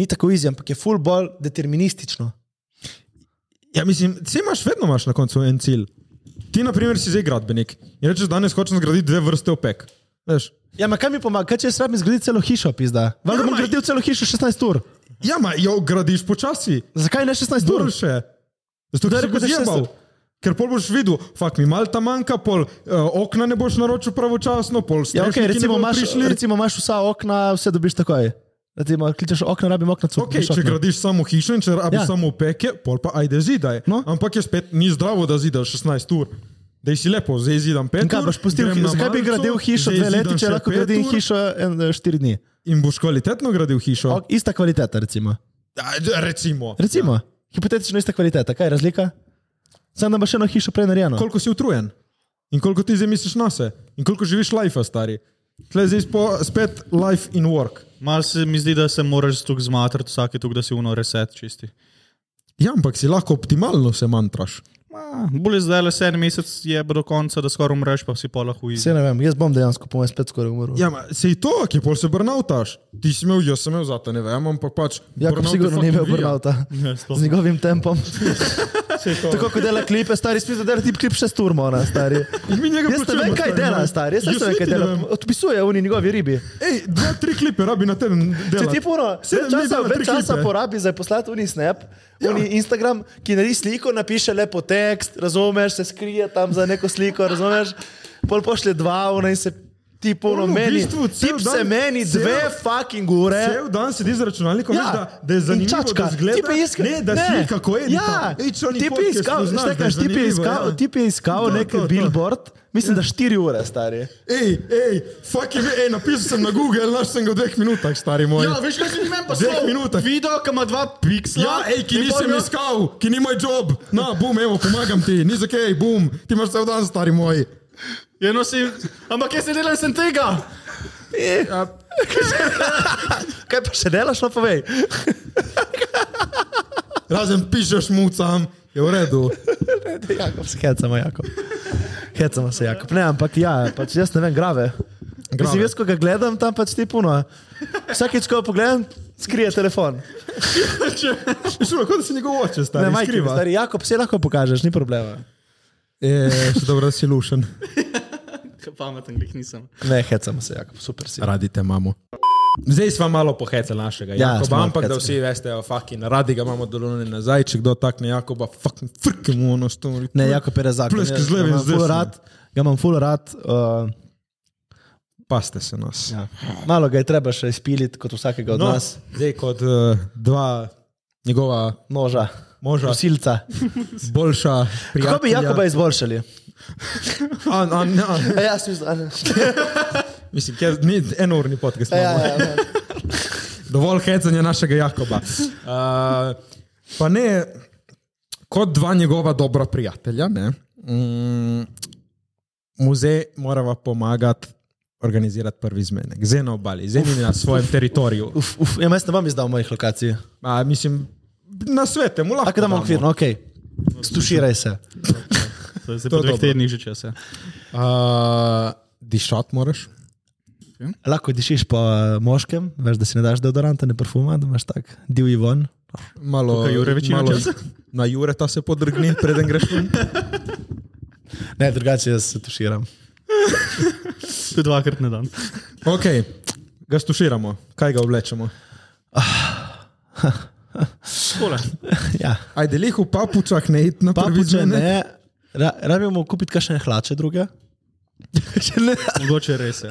Speaker 3: ni tako izjem, ampak je full bolj deterministično.
Speaker 1: Ja, mislim, vse imaš, vedno imaš na koncu en cilj. Ti, na primer, si zdaj gradbenik in rečeš, danes hočem zgraditi dve vrste opek. Veš,
Speaker 3: Ja, ma kaj mi pomaga, kaj če jaz rabim zgraditi celo hišo, pizda. Vendar
Speaker 1: Ja,
Speaker 3: bom
Speaker 1: ma-
Speaker 3: gradil celo hišo 16 ur.
Speaker 1: ja, ma jo gradiš počasi,
Speaker 3: Zakaj ne 16 ur?
Speaker 1: zdor še. Zato da
Speaker 3: Da, rekel
Speaker 1: rečeš,
Speaker 3: si
Speaker 1: zjebal.
Speaker 3: šeststo.
Speaker 1: Ker pol boš videl, fakt mi malta manjka, pol uh, okna ne boš naročil pravočasno, pol
Speaker 3: Ja, okay,
Speaker 1: strešniki ne
Speaker 3: recimo,
Speaker 1: bodo
Speaker 3: imaš,
Speaker 1: prišli.
Speaker 3: recimo imaš vsa okna, vse dobiš takoj. Recimo, kličeš okna, rabim okna, cuk,
Speaker 1: Okay,
Speaker 3: dobiš
Speaker 1: če
Speaker 3: okna.
Speaker 1: gradiš samo hišo in če rabiš
Speaker 3: no. Ja.
Speaker 1: ja. samo peke, pol pa ajde zidaj.
Speaker 3: No.
Speaker 1: Ampak je spet ni zdravo, da zidaš 16 ur. Da si lepo, zdaj zidam 5
Speaker 3: In
Speaker 1: ur.
Speaker 3: Kaj, boš pustil,
Speaker 1: grem na
Speaker 3: zakaj bi
Speaker 1: malico,
Speaker 3: gradil hišo
Speaker 1: zdaj
Speaker 3: dve leti,
Speaker 1: zidam
Speaker 3: če
Speaker 1: še
Speaker 3: lahko
Speaker 1: pet
Speaker 3: gradim
Speaker 1: ur
Speaker 3: hišo en, eh, štiri dni?
Speaker 1: In boš kvalitetno gradil hišo.
Speaker 3: O, ista kvaliteta, recimo.
Speaker 1: Ja, Recimo.
Speaker 3: recimo. Ja. Hipotetično ista kvaliteta, kaj je razlika? Sam da imaš eno hišo prej narejeno.
Speaker 1: Koliko si utrujen in koliko ti zdaj misliš na se in koliko živiš life, stari. Tle zdaj spo, spet life in work.
Speaker 4: Mal se mi zdi, da se moraš tu zmatrati, vsake tu, da si uno reset čisti.
Speaker 1: Ja, ampak si lahko optimalno se mantraš.
Speaker 4: Ma, bolje zdaj le sedem mesec je do konca, da skoraj umreš, pa si pola huji.
Speaker 3: Vse ne vem, jaz bom dejansko po mojem spet skoraj umrl.
Speaker 1: Ja, ma, se je to, ki pol se burnoutaš. Ti si imel, jaz sem imel zate, ne vem, ampak pač.
Speaker 3: Jakob
Speaker 1: burnout je
Speaker 3: Ja, sigurno ni
Speaker 1: fucking
Speaker 3: imel
Speaker 1: vija.
Speaker 3: burnouta.
Speaker 4: Ne, sploh
Speaker 3: Z
Speaker 4: ne.
Speaker 3: njegovim tempom.
Speaker 1: Saj to.
Speaker 3: Tako kot dela klipe, stari spet zadela ti klip še sturmo, ona stari.
Speaker 1: In mi njega
Speaker 3: Jaz ne
Speaker 1: plačujemo,
Speaker 3: vem, kaj
Speaker 1: stari,
Speaker 3: dela,
Speaker 1: no.
Speaker 3: stari. Jaz
Speaker 1: Jaz
Speaker 3: ne vem, kaj
Speaker 1: niti ne
Speaker 3: dela.
Speaker 1: vem.
Speaker 3: Odpisuje oni njegovi ribi.
Speaker 1: Ej, dva, tri klipe rabi na teden.
Speaker 3: Če
Speaker 1: delati.
Speaker 3: ti puno,
Speaker 1: Sedem
Speaker 3: več
Speaker 1: dni
Speaker 3: časa,
Speaker 1: dela tri
Speaker 3: več časa
Speaker 1: klipe.
Speaker 3: porabi za poslati uni snap, ja. uni Instagram, ki naredi sliko, napiše lepo tekst, razumeš, se skrije tam za neko sliko, razumeš, pol pošlje dva, ona in se ti puno
Speaker 1: Ono, v
Speaker 3: meni.
Speaker 1: bistvu cel
Speaker 3: Tip
Speaker 1: dan-
Speaker 3: se meni
Speaker 1: cel-
Speaker 3: dve fucking ure.
Speaker 1: Cel dan sedi za računalnikom,
Speaker 3: Ja,
Speaker 1: ja. veš, da, da je
Speaker 3: in
Speaker 1: zanimivo,
Speaker 3: čačka.
Speaker 1: da zgleda,
Speaker 3: Tip je iskal-
Speaker 1: ne, da
Speaker 3: ne.
Speaker 1: si kako je.
Speaker 3: Ja, tip je iskal, šta kažeš, tip je iskal,
Speaker 1: ja.
Speaker 3: tip je iskal nek billboard, mislim, da štiri ure stari.
Speaker 1: Ej, ej, fuck je, ej, napisal sem na Google, našel sem ga v dveh minutah, stari moj.
Speaker 4: Ja, veš, kaj si meni pa
Speaker 1: Dveh minutah.
Speaker 4: Video, ki ima dva piksla.
Speaker 1: Ja, ej, ki
Speaker 4: in pol
Speaker 1: nisem
Speaker 4: ima-
Speaker 1: iskal, ki ni moj job. Na, bum, evo, pomagam ti, ni za kaj, bum, ti imaš cel dan, stari moj.
Speaker 4: Ja, no si, ampak jaz ne delam sem tega. ja.
Speaker 3: Kaj pa še delaš, no povej.
Speaker 1: Razen pišeš mucam, je v redu.
Speaker 3: Jakob, se hecamo, Jakob. Hecamo se, Jakob. Ne, ampak ja, pač jaz ne vem, grave. grave. Mislim, jaz, ko ga gledam, tam pač ti puno. Vsakič, ko ga pogledam, skrije telefon.
Speaker 1: Šlo, kot da si njegov oče, stari.
Speaker 3: Ne, majki,
Speaker 1: skriva.
Speaker 3: stari Jakob, vse lahko pokažeš, ni problema.
Speaker 1: E, še dobro, da si lušen.
Speaker 4: Pameten, glih nisem.
Speaker 3: Ne, hecamo se, Jakob, super si.
Speaker 1: Radite, mamo. Zdaj smo malo pohecali našega
Speaker 3: Ja,
Speaker 1: ja,
Speaker 3: smo
Speaker 1: Jakoba,
Speaker 3: malo
Speaker 1: ampak da
Speaker 3: pohecali.
Speaker 1: vsi veste, da fucking radi ga imamo dolone nazaj, če kdo takne Jakoba, fucking frke mu ono što.
Speaker 3: Ne, Jakob je rezak.
Speaker 1: Pleški z leve in z desne.
Speaker 3: rad. Ga imam full rad. Uh,
Speaker 1: Paste se nas. Ja.
Speaker 3: ja. Malo ga je treba še izpiliti, kot vsakega od no.
Speaker 1: No,
Speaker 3: nas.
Speaker 1: zdaj kot uh, dva njegova
Speaker 3: Noža,
Speaker 1: moža,
Speaker 3: prosilca.
Speaker 1: boljša prijatelja.
Speaker 3: Kako bi Jakoba izboljšali?
Speaker 1: A, a, a,
Speaker 3: E, jaz mislim,
Speaker 1: mislim, ker ni enorni podcast.
Speaker 3: da
Speaker 1: imamo.
Speaker 3: je.
Speaker 1: Dovolj hecanja našega Jakoba. Uh, pa ne, kot dva njegova dobra prijatelja, ne, mm, muzej morava pomagati organizirati prvi zmenek. Zdaj na obali, zdaj ni na svojem teritoriju.
Speaker 3: Uf, uf, ja, jaz ne bom izdal mojih lokacij.
Speaker 1: A, mislim, na svete, mu lahko.
Speaker 3: Tako da imamo
Speaker 1: damo.
Speaker 3: okvirno, ok. Stuširaj se.
Speaker 4: To je
Speaker 1: To
Speaker 4: zdaj
Speaker 1: je
Speaker 4: po dveh
Speaker 1: dobro.
Speaker 4: tednih že časa.
Speaker 1: Uh, dišat moraš.
Speaker 3: Lahko dišiš po eh, moškem, veš, da si ne daš deodoranta, ne parfuma, da imaš tak divji von.
Speaker 1: Malo,
Speaker 4: Tukaj Jure večino
Speaker 1: malo
Speaker 4: časa.
Speaker 1: na Jure ta se podrgni, preden greš ven.
Speaker 3: Ne, drugače jaz se tuširam.
Speaker 4: To je dvakrat na dan.
Speaker 1: Ok, ga stuširamo, kaj ga oblečemo.
Speaker 4: Skole.
Speaker 3: ja.
Speaker 1: Ajde, lih v papučah ne id na prvi
Speaker 3: Papuče
Speaker 1: zmenek.
Speaker 3: ne, ra, rabimo kupiti kakšne hlače druge. Če ne,
Speaker 4: Mogoče res je.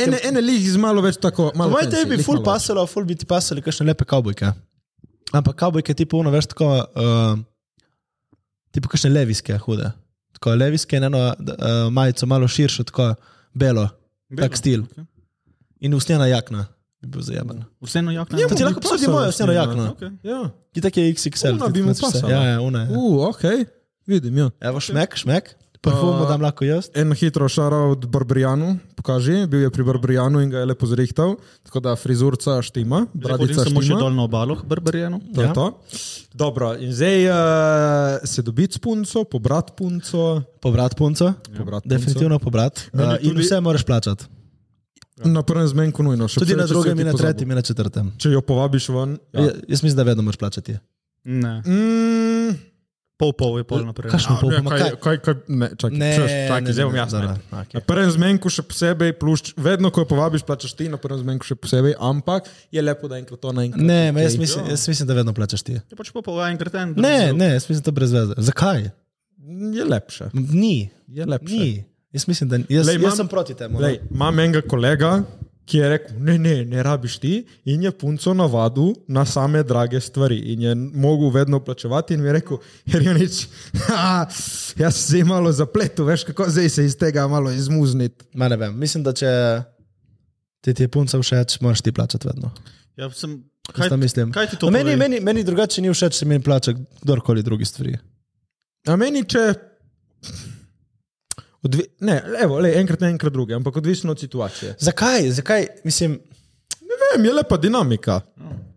Speaker 1: Ene, ene lih z malo več tako. malo
Speaker 3: Moj
Speaker 1: fancy,
Speaker 3: tebi bi
Speaker 1: lih
Speaker 3: ful
Speaker 1: malo več.
Speaker 3: pasalo, ful bi ti pasali kakšne lepe kavbojke. Ampak kavbojke ti polno veš tako, uh, ti pa kakšne eh, leviske hude. tako leviske in eno d- eh, majico malo širšo, tako belo, belo. tak stil.
Speaker 4: Okay.
Speaker 3: In usnjena jakna bi bil zajemen.
Speaker 4: Vseeno jakna.
Speaker 3: To Ja, ti lahko posodi mojo usnjeno jakno.
Speaker 4: Okay.
Speaker 1: Ja.
Speaker 3: Ti tak je XXL.
Speaker 1: Ona
Speaker 3: ti-
Speaker 1: bi mu
Speaker 3: znači vse.
Speaker 1: pasala.
Speaker 3: Ja, ja, ona. je.
Speaker 1: U, ok, vidim, ja.
Speaker 3: Evo šmek, šmek. Uh, Parfum
Speaker 1: Pa-
Speaker 3: dam lahko jaz.
Speaker 1: En hitro šara od Barbrijanu, pokaži, bil je pri Barbrijanu in ga je lepo zrihtal, tako da frizurca štima,
Speaker 4: Hodim
Speaker 1: bradica
Speaker 4: samo še
Speaker 1: štima.
Speaker 4: dol na obalo, brbarjeno.
Speaker 1: To je
Speaker 3: Ja.
Speaker 1: to. Dobro, in zdaj uh, se dobiti s punco, pobrat punco.
Speaker 3: Pobrat punco.
Speaker 1: Pobrat punco.
Speaker 3: Ja. Definitivno pobrat.
Speaker 1: Meni
Speaker 3: Uh, in
Speaker 1: tudi-
Speaker 3: vse moraš plačati.
Speaker 1: Na prvem zmenku nujno, še
Speaker 3: Tudi
Speaker 1: posebej, če
Speaker 3: na
Speaker 1: si jo
Speaker 3: drugem,
Speaker 1: ti
Speaker 3: in na
Speaker 1: pozabil.
Speaker 3: tretjem, in na četrtem.
Speaker 1: Če jo povabiš ven.
Speaker 3: Ja. Jaz mislim, da vedno moraš plačati.
Speaker 4: Ne.
Speaker 1: Mm,
Speaker 4: Pol pol je pol naprej.
Speaker 3: Kakšno pol
Speaker 1: ne,
Speaker 3: pa
Speaker 1: Ja, kaj, kaj, kaj, ne, čakaj,
Speaker 3: Ne,
Speaker 1: čuš, čakaj,
Speaker 3: ne,
Speaker 1: zdaj bom
Speaker 3: ne,
Speaker 1: jaz.
Speaker 3: dobro,
Speaker 1: ne.
Speaker 3: okej.
Speaker 1: Na prvem zmenku še posebej, plus, vedno, ko jo povabiš, plačaš ti, na prvem zmenku še posebej, ampak je lepo, da enkrat to naenkrat.
Speaker 3: Ne, ma jol mislim, jaz mislim, da vedno plačaš ti.
Speaker 4: Je pač pol pol enkrat en.
Speaker 3: Ne, ne, jaz mislim, da to brez veze. Zakaj?
Speaker 1: Je lepše.
Speaker 3: Ni.
Speaker 1: Je lepše.
Speaker 3: Ni. Jaz mislim, da ni. Jaz,
Speaker 1: Lej,
Speaker 3: Lej, jaz
Speaker 1: imam-
Speaker 3: sem proti temu.
Speaker 1: Lej, imam enega kolega, ki je rekel: ne, ne, ne rabiš ti, in je punco navadil na same drage stvari. In je mogel vedno plačevati, in mi je rekel: Herjonič, haha, jaz se zdaj malo zapletu, veš kako zdaj se iz tega malo izmuzniti.
Speaker 3: Ma ne vem, mislim, da če ti, ti je punca všeč, moraš ti plačati vedno.
Speaker 4: Ja, sem,
Speaker 3: Kaj,
Speaker 4: kaj,
Speaker 3: mislim.
Speaker 4: kaj ti to
Speaker 3: No, meni,
Speaker 1: torej-
Speaker 4: pove?
Speaker 3: meni, meni drugače ni všeč, če meni plača kdorkoli drugi stvari.
Speaker 1: A meni, če. Odvi... Ne, evo, lej, enkrat ne, enkrat druge, ampak odvisno od situacije.
Speaker 3: Zakaj? Zakaj? Mislim,
Speaker 1: Ne vem, je lepa dinamika.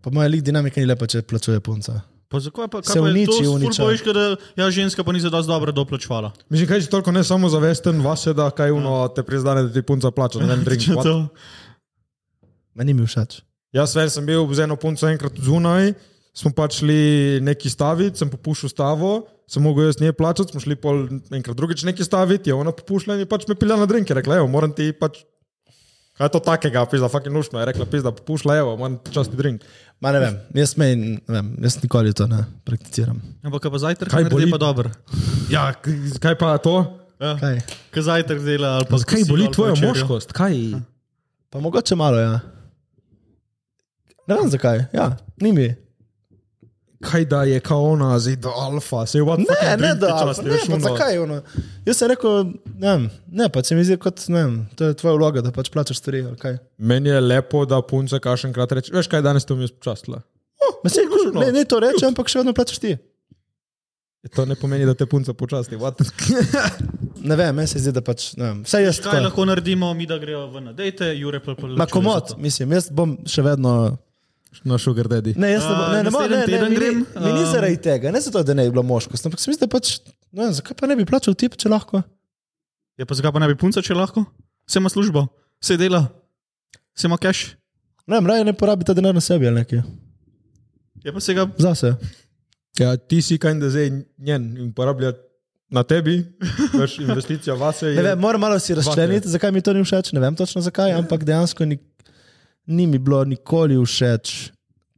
Speaker 3: po mojem, lik dinamika ni lepa, če plačuje punca.
Speaker 4: Pa zakaj pa, kaj
Speaker 3: Se
Speaker 4: pa je to?
Speaker 3: uniči,
Speaker 4: ful
Speaker 3: uniča.
Speaker 4: bojiš, ke da ja, ženska pa ni za dosti dobro doplačvala.
Speaker 1: Mislim, kaj si toliko ne samo zavesten, vas je, da kaj uno te priznane, da ti punca plača, ne vem, drink.
Speaker 4: Če
Speaker 3: Ja,
Speaker 1: what?
Speaker 4: to-
Speaker 3: Meni mi všeč.
Speaker 1: Jaz vem, sem bil z eno punco enkrat zunaj, smo pač šli neki staviti, sem popušil stavo, sem mogel jaz nje plačati, smo šli pol enkrat drugič neki staviti, je ona popušila in je pač me pila na drinke, rekla, evo, moram ti pač. Kaj je to takega, pizda, fucking nušno, je rekla, pizda, popušila, evo, moram ti časti drink.
Speaker 3: Ma ne vem, jaz, meni, ne vem, jaz nikoli to ne prakticiram.
Speaker 4: Ampak kaj pa zajtrk,
Speaker 1: Kaj
Speaker 4: kaj
Speaker 1: boli?
Speaker 4: boli pa dobro.
Speaker 1: Ja, k- kaj pa to?
Speaker 4: Ja.
Speaker 3: Kaj?
Speaker 4: Kaj zajtrk dela ali pa
Speaker 1: Kaj
Speaker 4: kosilo
Speaker 1: boli
Speaker 4: ali pa
Speaker 1: tvoja
Speaker 4: večerjo?
Speaker 1: moškost? Kaj?
Speaker 3: Pa mogoče malo, ja. Ne vem zakaj, ja, ni mi.
Speaker 1: Kaj da je kao ona, zdaj do alfa, se je vat
Speaker 3: Ne,
Speaker 1: fucking
Speaker 3: ne,
Speaker 1: drink ti
Speaker 3: da,
Speaker 1: časti,
Speaker 3: ne,
Speaker 1: veš,
Speaker 3: pa
Speaker 1: ono.
Speaker 3: zakaj? Ono? Jaz sem rekel, ne, vem, ne, pa se mi zdi kot, ne, vem, to je tvoja vloga, da pač plačaš stvari. ali Kaj.
Speaker 1: Meni je lepo, da punca kašenkrat reče, veš kaj, danes to mi je spočastila.
Speaker 3: Ma saj, cool, Ne, ne to rečem, ampak še vedno plačaš ti.
Speaker 1: E, To ne pomeni, da te punca počasti, what?
Speaker 3: Ne vem, meni se zdi, da pač, ne vem, vse jaz
Speaker 4: Kaj
Speaker 3: tako.
Speaker 4: lahko naredimo, mi da grejo ven na dejte, Jure pa pa.
Speaker 3: Ma komod, mislim, jaz bom še vedno.
Speaker 1: Na No, sugar daddy.
Speaker 3: Ne, jaz ne bom, ne, ne, bom- ne,
Speaker 4: Naslednji
Speaker 3: ne,
Speaker 4: teden
Speaker 3: mi ni-
Speaker 4: grem,
Speaker 3: mi ni
Speaker 4: um,
Speaker 3: zaradi tega, ne zato, da ne bi bila moškost, ampak se mi zdi, da pač, ne vem, zakaj pa ne bi plačal tip, če lahko.
Speaker 4: Ja, pa zakaj pa ne bi punca, če lahko? Se ima službo, se dela, se ima cash.
Speaker 3: Ne vem, raje ne porabi ta denar na sebi ali nekaj,
Speaker 4: Ja, pa se ga
Speaker 3: zase.
Speaker 1: Ja, ti si kaj, da zdaj njen in porablja na tebi, veš, investicija vase.
Speaker 3: Ne
Speaker 1: Je...
Speaker 3: vem, moram malo si razčleniti, zakaj mi to ni všeč. Ne vem točno zakaj, ampak dejansko ni, ni mi bilo nikoli všeč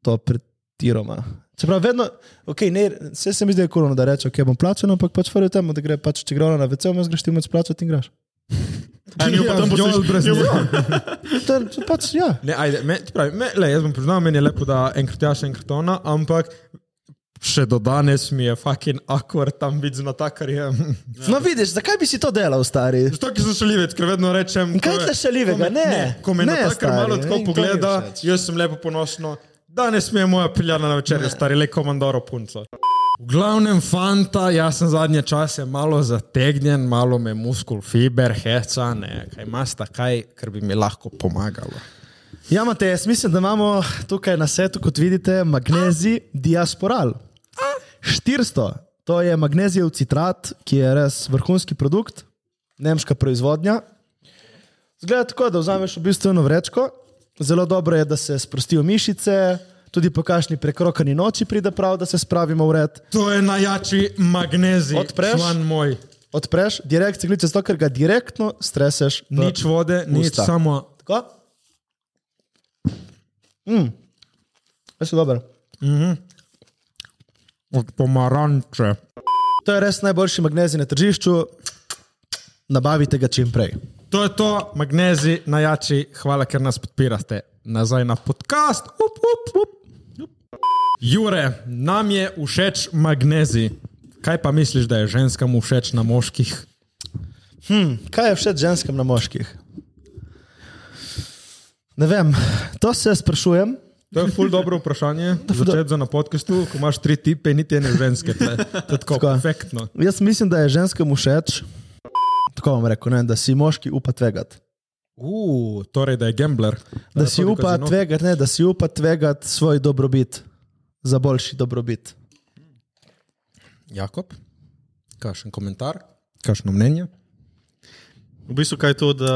Speaker 3: to pretiroma. Čeprav vedno, okay, ne, vse se mi zdi kurno, da rečem, ok, bom plačen, ampak pač prvi tem, da gre pač, če gre ona na VC, imaš greš ti moč plačati in greš.
Speaker 4: A, njo pa tam
Speaker 1: Ja,
Speaker 4: poslušaš.
Speaker 1: joj, brez nje.
Speaker 3: To je to pač, ja.
Speaker 1: Ne, ajde, me, ti pravi, me, le, jaz bom priznal, meni je lepo, da enkrat jaš, enkrat ona, ampak še do danes mi je fucking akvar tam biti z natakarjem.
Speaker 3: No vidiš, zakaj bi si to delal, stari?
Speaker 1: Zato, ki sem šalivec, ker vedno rečem.
Speaker 3: In kaj
Speaker 1: ko me-
Speaker 3: je tle
Speaker 1: ko
Speaker 3: šaljivega?
Speaker 1: me-
Speaker 3: Ne,
Speaker 1: Ko me
Speaker 3: ne,
Speaker 1: natakar
Speaker 3: stari,
Speaker 1: malo
Speaker 3: ne,
Speaker 1: tako
Speaker 3: in to mi je
Speaker 1: pogleda,
Speaker 3: všeč.
Speaker 1: jaz sem lepo ponosno. Danes mi je moja piljana na večerjo, stari le komandoro punco. V glavnem, fanta, jaz sem zadnje čase malo zategnjen, malo me muskul fiber, heca, ne, kaj imaš takaj, kar bi mi lahko pomagalo.
Speaker 3: Ja, Matej, jaz mislim, da imamo tukaj na setu, kot vidite, magnezij diasporal. 400, to je magnezijev citrat, ki je res vrhunski produkt, nemška proizvodnja. Zgleda tako, da vzameš v bistvu eno vrečko, zelo dobro je, da se sprostijo mišice, tudi po kašni prekrokani noči pride prav, da se spravimo v red.
Speaker 1: To je najjači magnezij,
Speaker 3: Odpreš?
Speaker 1: član moj.
Speaker 3: Odpreš, direkt se kliče, zato ker ga direktno streseš. v
Speaker 1: Nič vode, nič
Speaker 3: usta.
Speaker 1: samo.
Speaker 3: Tako? Mm. Veš, dobro.
Speaker 1: Od pomaranče.
Speaker 3: To je res najboljši magnezij na tržišču. Nabavite ga čim prej.
Speaker 1: To je to, magnezi, najjači, hvala, ker nas podpirate. Nazaj na podcast. Up, up, up. Jure, nam je všeč magnezi. Kaj pa misliš, da je ženskam všeč na moških?
Speaker 3: Hm, kaj je všeč ženskam na moških? Ne vem, to se sprašujem.
Speaker 1: To je ful dobro vprašanje. Začeti za na podkastu, ko imaš tri tipe, niti ene ženske. tle. To je tako
Speaker 3: Tako.
Speaker 1: perfektno.
Speaker 3: Jaz mislim, da je ženskam všeč, tako vam rekel, ne, da si moški upa tvegati.
Speaker 1: Uh, torej, da je gambler.
Speaker 3: Da si
Speaker 1: hodi v
Speaker 3: upa
Speaker 1: kazino.
Speaker 3: tvegati, ne, da si upa tvegati svoj dobrobit za boljši dobrobit.
Speaker 1: Jakob, kakšen komentar, kakšno mnenje?
Speaker 4: V bistvu kaj je to, da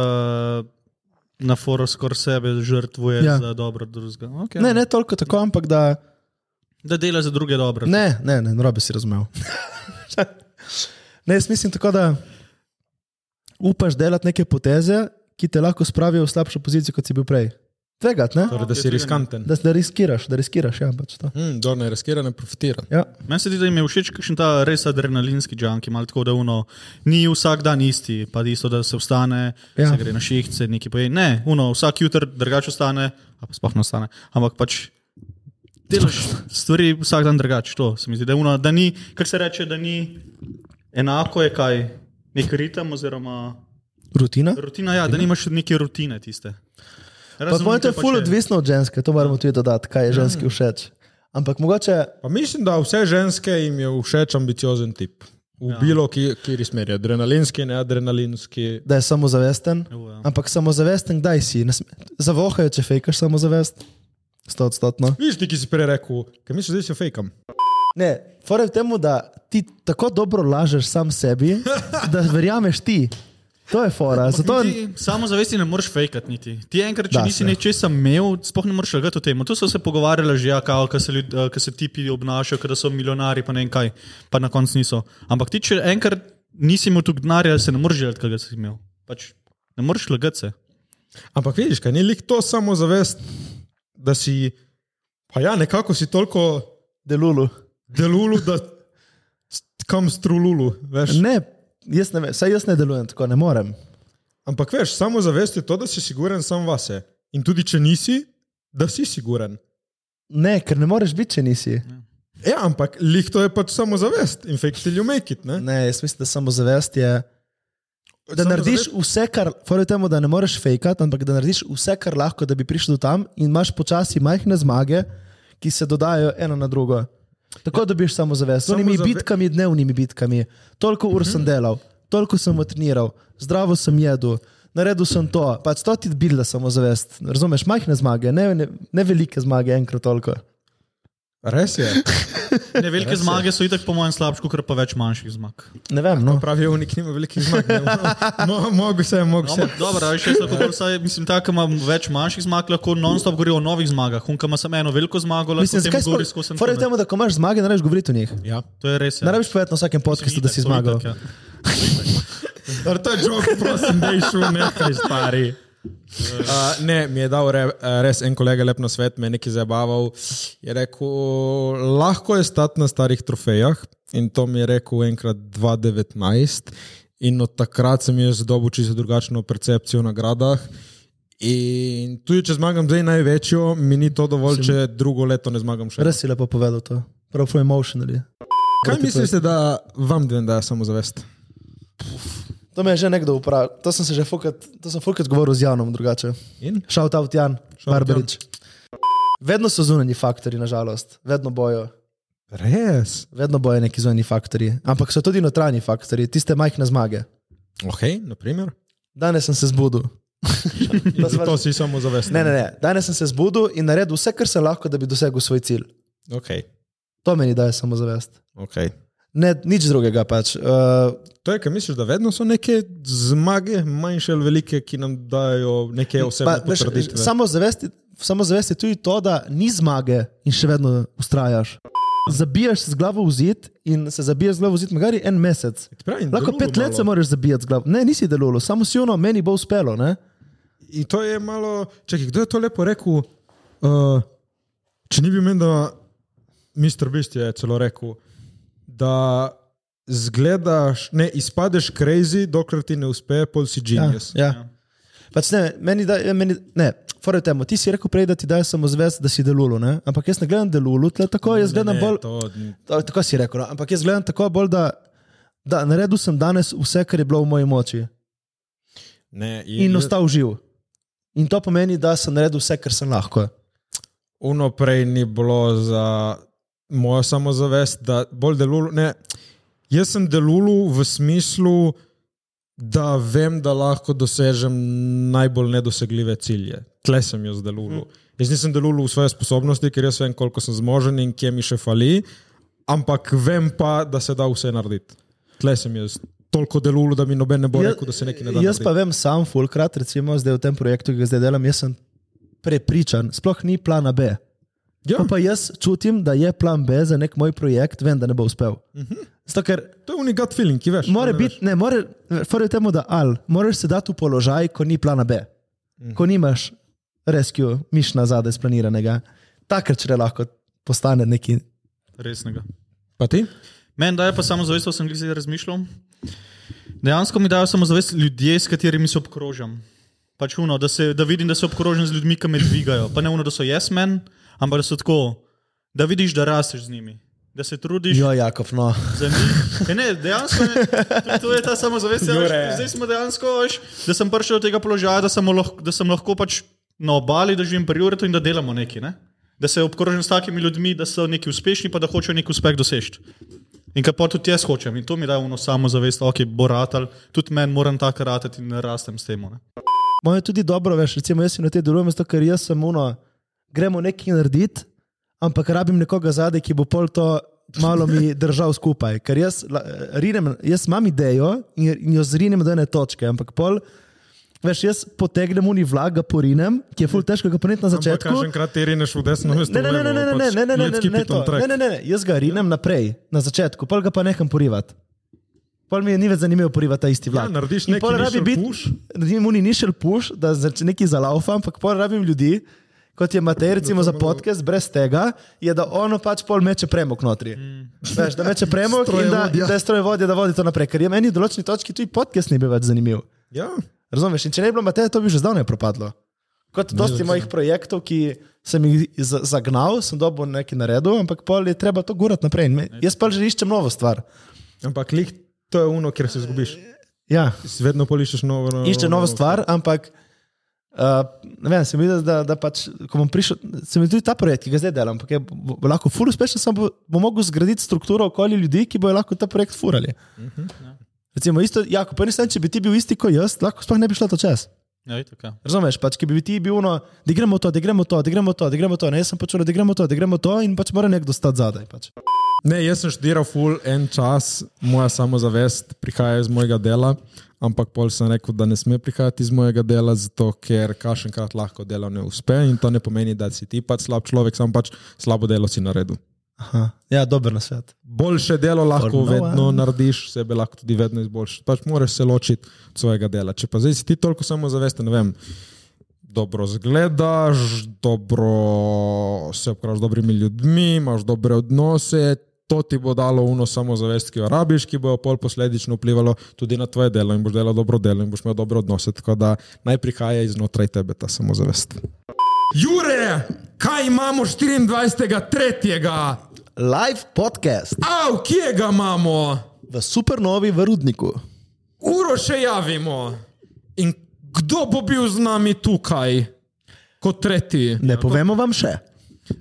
Speaker 4: na foru skoraj sebe žrtvuje
Speaker 3: Ja.
Speaker 4: ja. za dobro drugega. Okay.
Speaker 3: Ne, ne toliko tako, ampak da
Speaker 4: Da dela za druge dobro.
Speaker 3: Ne, ne, ne, narobe si razumel. ne, jaz mislim tako, da upaš delati neke poteze, ki te lahko spravijo v slabšo pozicijo, kot si bil prej. Tvegati, ne?
Speaker 1: Torej, da si
Speaker 4: tveganje.
Speaker 1: riskanten.
Speaker 3: Da, da riskiraš, da riskiraš, ja, pač to.
Speaker 1: Mm, Kdo ne riskira, ne profitira.
Speaker 3: Ja.
Speaker 4: Meni se zdi, da jim je všeč kakšen ta res adrenalinski džank, malo tako da uno, ni vsak dan isti, pa isto, da se vstane,
Speaker 3: Ja.
Speaker 4: ja. se gre na šiht, se nekaj poje. Ne, uno, vsak jutr drugače vstane, a pa sploh ne vstane, ampak pač delaš stvari vsak dan drugače. To se mi zdi, da, uno, da ni, kako se reče, da ni enako je kaj, nek ritem oziroma
Speaker 3: Rutina.
Speaker 4: rutina, ja, da nimaš neke rutine tiste.
Speaker 3: Pa
Speaker 4: Razumem,
Speaker 3: moj to je
Speaker 4: kaj
Speaker 3: ful
Speaker 4: pač
Speaker 3: odvisno od ženske, to moramo tudi dodati, kaj
Speaker 4: Ja.
Speaker 3: je ženski všeč. Ampak mogoče,
Speaker 1: Pa mislim, da vse ženske jim je všeč ambiciozen tip. V ja. bilo ki- kateri smeri, adrenalinski, neadrenalinski.
Speaker 3: da je samozavesten,
Speaker 4: Jo, ja.
Speaker 3: ampak samozavesten, kdaj si. Ne sme- Zavohajo, če fejkaš samozavest. Stotstotno.
Speaker 1: Viš ti, ki si prej rekel, kaj misliš, da si fejkam.
Speaker 3: Ne, fore v tem, da ti tako dobro lažeš sam sebi, da verjameš ti. To je fora. Zato,
Speaker 4: Ti samo zavesti ne moreš fejkati niti. Ti enkrat, če
Speaker 3: Da
Speaker 4: da,
Speaker 3: se.
Speaker 4: nisi nečesa imel, sploh ne moreš lagati o tem. To so se pogovarjali že, ja, kao, kaj se, ljud, eh, kaj se tipi obnašajo, kaj da so milijonari, pa ne vem kaj, pa na koncu niso. Ampak ti, če enkrat nisi imel tu denarja, se ne moreš želeti, kaj si imel. Pač, ne moreš lagati se.
Speaker 1: Ampak vidiš, kaj ni lik to samo zavest, da si, pa ja, nekako si toliko
Speaker 3: delulu.
Speaker 1: delulu, da s- kam strululu. Veš.
Speaker 3: Ne, jaz ne, vem, saj jaz ne delujem tako, ne morem.
Speaker 1: Ampak veš, samo zavest je to, da si siguren sam vase. In tudi če nisi, da si siguren.
Speaker 3: Ne, ker ne moreš biti, če nisi.
Speaker 1: Ja, ampak lik to je pač samo zavest, in fake till you make it. Ne?
Speaker 3: Ne, jaz mislim, da samozavest je. Da
Speaker 1: Samozavest-
Speaker 3: narediš vse, kar, fore v tem, da ne moreš fejkati, ampak da narediš vse, kar lahko, da bi prišel do tam in imaš počasi majhne zmage, ki se dodajajo ena na drugo. Tako dobiš samozavest, z onimi
Speaker 1: Samozave-
Speaker 3: bitkami, dnevnimi bitkami. Toliko ur
Speaker 4: Mhm.
Speaker 3: sem delal, toliko sem treniral, zdravo sem jedel, naredil sem to. Pač to ti bila samozavest. Razumeš, majhne zmage, ne, ne, ne velike zmage, enkrat toliko.
Speaker 1: Res je.
Speaker 4: Ne, velike zmage so itak po mojem slabšku, ker pa več manjših zmag.
Speaker 3: Ne vem, no.
Speaker 1: Pravijo, nik nima velikih zmag. ne. Mo- Mogo se, mogo
Speaker 4: No,
Speaker 1: se.
Speaker 4: ampak dobro, a veš, jaz lahko bolj vsaj, mislim, ta, ki ima več manjših zmag, lahko non-stop govori o novih zmagah. Hunka ima samo eno veliko zmago, lahko
Speaker 3: Mislim,
Speaker 4: se
Speaker 3: zakaj
Speaker 4: govori
Speaker 3: sploh?
Speaker 4: skozi.
Speaker 3: Fore v tem, da ko imaš zmage, ne rečeš govoriti o njih.
Speaker 1: Ja.
Speaker 4: To je res.
Speaker 3: Ne
Speaker 4: Ja.
Speaker 3: rabiš povedati no, na vsakem podkastu, da si
Speaker 4: Itak, to
Speaker 3: zmagal.
Speaker 4: itak, ja.
Speaker 1: Ar to je žog, prosim, da je šel nekaj stari. Uh, ne, mi je dal re, res en kolega lep na svet, me je nekaj zabaval. Je rekel, lahko je stati na starih trofejah in to mi je rekel enkrat 2019 in od takrat sem jaz dobil čisto drugačno percepcijo o nagradah. In tudi če zmagam zdaj največjo, mi ni to dovolj, če drugo leto ne zmagam še.
Speaker 3: Res si lepo povedal to, prav full emotionally.
Speaker 1: Kaj mislite, da vam dvem daje samozavest?
Speaker 3: To me je že nekdo vprašal, to sem se že fukat, to sem fukat govoril z Janom drugače.
Speaker 1: In?
Speaker 3: Shout out Jan,
Speaker 1: Shout out
Speaker 3: Barbarič. Vedno so zunanji faktori, nažalost, vedno bojo.
Speaker 1: Res.
Speaker 3: Vedno bojo neki zunanji faktori, ampak so tudi notranji faktori, tiste majhne zmage.
Speaker 1: Ok, naprimer.
Speaker 3: Danes sem se zbudil. Da sva-
Speaker 1: Zato si samozavesten.
Speaker 3: ne, ne, ne, danes sem se zbudil in naredil vse, kar sem lahko, da bi dosegel svoj cilj.
Speaker 1: Okay.
Speaker 3: To meni daje samozavest.
Speaker 1: Okay.
Speaker 3: Ne, nič drugega pač. Uh,
Speaker 1: To je, kar misliš, da vedno so neke zmage, manjše ali velike, ki nam dajo neke osebne
Speaker 3: Pa, veš,
Speaker 1: Ja, potrditve.
Speaker 3: Samozavest je- samozavest je tudi to, da ni zmage in še vedno ustrajaš. Zabijaš se z glavo v zid in se zabiješ z glavo v zid, magari en mesec.
Speaker 1: E, Ti pravim,
Speaker 3: Lahko
Speaker 1: delulo
Speaker 3: pet let
Speaker 1: malo.
Speaker 3: se moraš zabijati z glavo. Ne, nisi delulo, samo si ono, meni bo uspelo. Ne?
Speaker 1: In to je malo, čakaj, kdo je to lepo rekel? Uh, če ni bil meni, da Mr. Beast je celo rekel, da zgledaš, ne izpadeš crazy, dokler ti ne uspe, pol si
Speaker 3: Ja,
Speaker 1: genius.
Speaker 3: ja. Pač ne, meni da, ja, meni, ne, fora je temo. Ti si rekel prej, da ti daje samo zvest, da si delulu, ne? ampak jaz ne gledam delulu, tle tako, jaz gledam bolj.
Speaker 1: To,
Speaker 3: Ta- Tako si rekel, no? ampak jaz gledam tako bolj, da, da naredil sem danes vse, kar je bilo v moji moči
Speaker 1: ne,
Speaker 3: in ostal živ. In to pomeni, da sem naredil vse, kar sem lahko.
Speaker 1: Uno prej ni bilo za mojo samozavest, da bolj delujem. Ne, jaz sem delulu v smislu, da vem, da lahko dosežem najbolj nedosegljive cilje. Tle sem jaz delulu.
Speaker 3: Mhm.
Speaker 1: Jaz nisem delulu v svoje sposobnosti, ker jaz vem, koliko sem zmožen in kje mi še fali, ampak vem pa, da se da vse narediti. Tle sem jaz. Toliko delulu, da mi noben ne bo
Speaker 3: Jaz-
Speaker 1: rekel, da se nekaj ne da.
Speaker 3: Ja, Jaz pa
Speaker 1: narediti.
Speaker 3: vem sam, fulkrat, recimo zdaj v tem projektu, ki ga zdaj delam, jaz sem prepričan, sploh ni plana B.
Speaker 1: Ja.
Speaker 3: Ko Pa jaz čutim, da je plan B za nek moj projekt, vem, da ne bo uspel.
Speaker 1: Mhm.
Speaker 3: Zato, ker
Speaker 1: To je unikat feeling, ki veš.
Speaker 3: mora
Speaker 1: ne
Speaker 3: biti, ne, mora, fora je temu, da al, moraš se dati v položaj, ko ni plana B,
Speaker 1: Mhm.
Speaker 3: ko nimaš rescue, miš nazaj, splaniranega. Takrat, če lahko postane neki.
Speaker 4: Resnega.
Speaker 1: veš. Pa ti?
Speaker 4: Meni daje pa samo zavest, o sem glede razmišljal. Dejansko mi dajo samo zavest ljudje, s katerimi se obkrožam. Pač uno, da, se, da vidim, da se obkrožam z ljudmi, ki me dvigajo. Pa ne uno, da so jaz yes men, ampak da so tako, da vidiš, da rasteš z njimi, da se trudiš.
Speaker 3: Jo, Jakov, no.
Speaker 4: za njih. E ne, dejansko ne, to- to je ta samozavest. Ja, veš, zdaj smo dejansko, veš, da sem prišel do tega položaja, da sem lahko, da sem lahko pač na obali, da živim pri Juretu in da delamo nekaj. Ne? Da se obkrožim s takimi ljudmi, da so neki uspešni, pa da hočejo nek uspeh doseči. In kar pa tudi jaz hočem, in to mi da uno samozavest, ok, bo ratal, tudi meni moram tako ratati in rastem s tem. ne.
Speaker 3: Moje je tudi dobro, veš, recimo jaz si na te delujem, zato ker jaz sem uno, gremo nekaj narediti, ampak rabim nekoga zadaj, ki bo pol to malo mi držal skupaj. Ker jaz, la- rinem, jaz imam idejo in, in jo zrinem do ene točke, ampak pol. Veš, jaz potegnem uni vlaga, porinem, ki je ful težko ga porniti na
Speaker 1: Ampak
Speaker 3: začetku.
Speaker 1: kažem, krat ti rineš v desno mesto.
Speaker 3: Ne, ne, ne, ne,
Speaker 1: pač
Speaker 3: ne, ne, ne, ne, ne, ne, ne, ne, to. ne, ne, ne, ne, jaz ga rinem naprej, na začetku, pol ga pa neham porivati. Pol mi je ni več zanimivo porivati ta isti vlak.
Speaker 1: Ja, narediš
Speaker 3: In
Speaker 1: neki
Speaker 3: pol rabi
Speaker 1: initial
Speaker 3: biti-
Speaker 1: push.
Speaker 3: Naredim mu ni šel puš, da zač- nekaj zalaufam, ampak pol rabim ljudi, kot je Matej,
Speaker 1: No,
Speaker 3: recimo za podcast, brez tega, je da ono pač pol meče premog notri.
Speaker 1: Mm.
Speaker 3: Veš, da meče premog in da, in da je strojevodja, da vodi to naprej, ker je meni v določeni točki tudi podcast ni bil več zanimiv.
Speaker 1: Ja,
Speaker 3: Razumeš? In če ne bi bilo Mateja, to bi že zdavnaj propadlo. Kot dosti mojih projektov, ki sem jih za- zagnal, sem dobil nekaj naredil, ampak pol je treba to gurati naprej. In me- Jaz pa že iščem novo stvar.
Speaker 1: ampak lih, to je uno, kjer se izgubiš.
Speaker 3: Ja,
Speaker 1: Vedno polišeš novo. novo
Speaker 3: iščem novo stvar, ampak uh, ne vem, se mi zdi, da, da pač, ko bom prišel, se mi tudi ta projekt, ki ga zdaj delam, ampak je bo, bo lahko fur uspešen, sem bo, bo mogel zgraditi strukturo okoli ljudi, ki bojo lahko ta projekt furali. Recimo, isto, ja, ko pa nisem, če bi ti bil isti kot jaz, lahko sploh ne bi šlo to čas.
Speaker 4: Ja, itak, ja.
Speaker 3: Razumeš, pač, ki bi ti bil ono, da gremo to, da gremo to, da gremo to, da gremo to. Ne, jaz sem počel, da gremo to, da gremo to in pač mora nekdo stati zadaj. Pač.
Speaker 1: Ne, jaz sem študiral full en čas, moja samozavest prihaja iz mojega dela, ampak pol sem rekel, da ne sme prihajati iz mojega dela, zato ker kašenkrat lahko delo ne uspe in to ne pomeni, da si ti pač slab človek, samo pač slabo delo si naredil.
Speaker 3: Aha, ja, dober nasvet.
Speaker 1: Boljše delo lahko
Speaker 3: no
Speaker 1: vedno
Speaker 3: one.
Speaker 1: narediš, sebe lahko tudi vedno izboljšaš. Pač moraš se ločiti od svojega dela. Če pa zdaj si ti toliko samozavesten, ne vem, dobro zgledaš, dobro se obkrožiš z dobrimi ljudmi, imaš dobre odnose. To ti bo dalo uno samozavest, ki jo rabiš, ki bo pol posledično vplivalo tudi na tvoje delo in boš delal dobro delo in boš imel dobre odnose. Tako da naj prihaja iznotraj tebe ta samozavest. Jure, kaj imamo 24.3.?
Speaker 3: Live podcast
Speaker 1: Av, kje ga imamo?
Speaker 3: v supernovi v Rudniku.
Speaker 1: Uro še javimo. In kdo bo bil z nami tukaj? Kot tretji.
Speaker 4: Ja,
Speaker 3: Ne povemo vam še.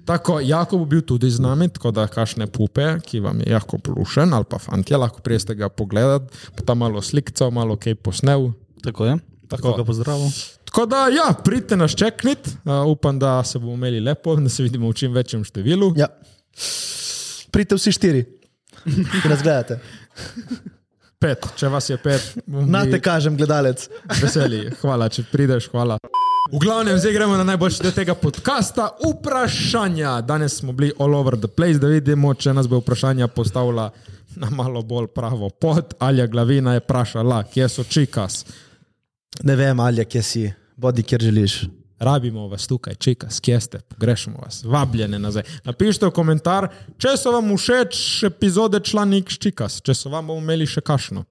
Speaker 1: Tako, Jako bo bil tudi z nami, tako da kašne pupe, ki vam je lahko polušen, ali pa fantje, lahko prijeste ga pogledat, pa tam malo slikcev, malo kaj posnel.
Speaker 4: Tako je. Tako ga pozdravljam.
Speaker 1: Tako da, ja, pridite nas čeknit, uh, upam, da se bomo imeli lepo, da se vidimo v čim večjem številu.
Speaker 3: Ja. Pridite vsi štiri, ki nas gledate.
Speaker 1: Pet, če vas je pet, bomo
Speaker 3: Na te
Speaker 1: mi-
Speaker 3: kažem, gledalec.
Speaker 1: Veseli, hvala, če prideš, hvala. V glavnem, zdaj gremo na najboljši del tega podcasta. Vprašanja. Danes smo bili all over the place, da vidimo, če nas bo vprašanja postavila na malo bolj pravo pot. Alja Glavina je vprašala, kje so čikas.
Speaker 3: Ne vem, ali kje si, bodi kjer želiš.
Speaker 1: Rabimo vas tukaj, čikas, kje ste, pogrešamo vas, vabljene nazaj. Napišite v komentar, če so vam všeč epizode članik s čikas, če so vam bomo imeli še kašno.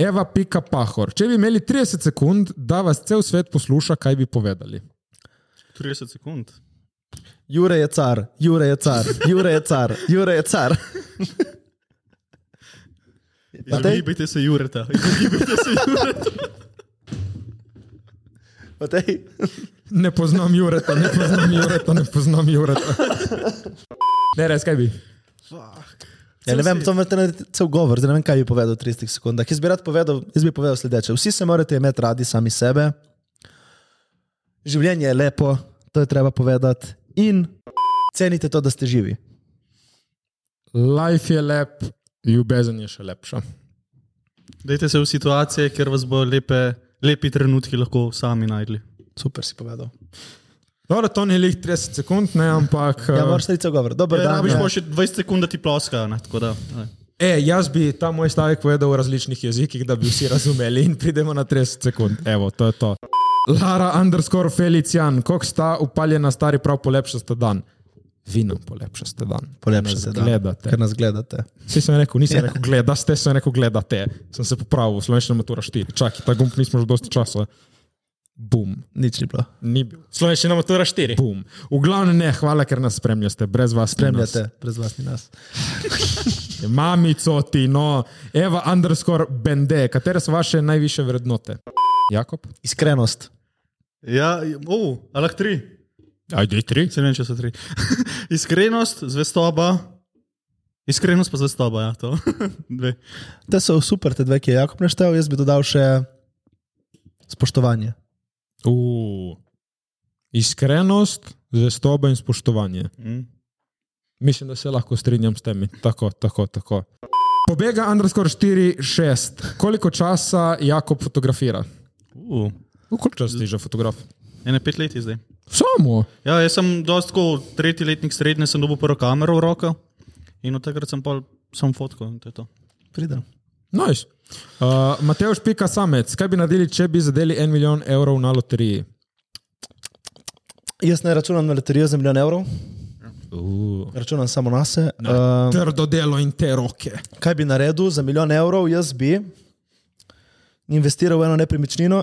Speaker 1: Eva Pika Pahor. Če bi imeli 30 sekund, da vas cel svet posluša, kaj bi povedali.
Speaker 4: 30 sekund.
Speaker 3: Jure je car, Jure je car, Jure je car, Jure je car. Matej,
Speaker 4: Izogibajte se Jureta. Izogibajte se Jureta.
Speaker 3: Matej.
Speaker 1: Ne poznam Jureta, ne poznam Jureta, ne poznam Jureta. Ne, res kaj bi.
Speaker 3: Ja, ne vem, to je cel govor, zdaj ne vem, kaj bi povedal v 30 sekundah. Jaz bi rad povedal, jaz bi povedal sledeče. Vsi se morate imeti radi sami sebe. Življenje je lepo, to je treba povedati. In cenite to, da ste živi.
Speaker 1: Life je lep, ljubezen je še lepša.
Speaker 4: Dajte se v situacije, kjer vas bo lepe, lepi trenutki lahko sami najdli.
Speaker 3: Super si povedal.
Speaker 1: Dobro, to ni lih 30 sekund, ne, ampak.
Speaker 3: Ja,
Speaker 1: eh,
Speaker 3: moraš reči cel govor. Dober
Speaker 4: Ja,
Speaker 3: dan.
Speaker 4: rabiš
Speaker 3: ja.
Speaker 4: pa še 20 sekund, da ti ploskajo. Ne, tako da, ne.
Speaker 1: E, jaz bi ta moj stavek povedal v različnih jezikih, da bi vsi razumeli, in pridemo na 30 sekund. Evo, to je to. Lara, underscore Felician, kako sta upaljena, stari prav polepšaste dan. Vinom polepšaste dan.
Speaker 3: Polepšate,
Speaker 1: Nas Gledate.
Speaker 3: ker nas gledate.
Speaker 1: Vsi sem rekel, nisem rekel, gledaste, sem rekel, gledate. Sem se popravil, slovenščina matura 4. Čakaj, ta gumb nismo že dosti časa. Bum.
Speaker 3: Nič ni bilo.
Speaker 1: Ni bil. Slovenščina matura 4. Bum. V glavnem ne, hvala, ker nas spremljate, brez vas ni nas.
Speaker 3: Spremljate, brez vas ni nas.
Speaker 1: Mamico ti, no, Eva, underscore bende, katere so vaše najviše vrednote? Jakob?
Speaker 3: Iskrenost.
Speaker 4: Ja, oh, alah tri.
Speaker 1: Ajde, tri.
Speaker 4: Se ne vem, če so tri. Iskrenost, zvestoba. Iskrenost pa zvestoba, ja, to. Dve.
Speaker 3: Te so super, te dve, ki je Jakob naštel, jaz bi dodal še spoštovanje.
Speaker 1: Uu. Iskrenost, zvestoba in spoštovanje.
Speaker 4: Mm.
Speaker 1: Mislim, da se lahko strinjam s temi. Tako, tako, tako. Pobega, underscore 4, 6. Koliko časa Jakob fotografira?
Speaker 4: Uh,
Speaker 1: V koliko časa si že fotograf?
Speaker 4: ene pet let je zdaj.
Speaker 1: Samo.
Speaker 4: Ja, jaz sem dosti tako, tretji letnik srednje sem dobil prvo kamero v roko in od takrat sem pa sam fotkal in to je to.
Speaker 3: Pridem.
Speaker 1: Nice. Uh, Mateoš Pika Samec, kaj bi naredili, če bi zadeli en milijon evrov na loteriji?
Speaker 3: Jaz ne računam na loterijo za milijon evrov,
Speaker 1: Uh.
Speaker 3: računam samo na sebe. Uh,
Speaker 1: Trdo delo in te roke.
Speaker 3: kaj bi naredil za milijon evrov? Jaz bi investiral v eno nepremičnino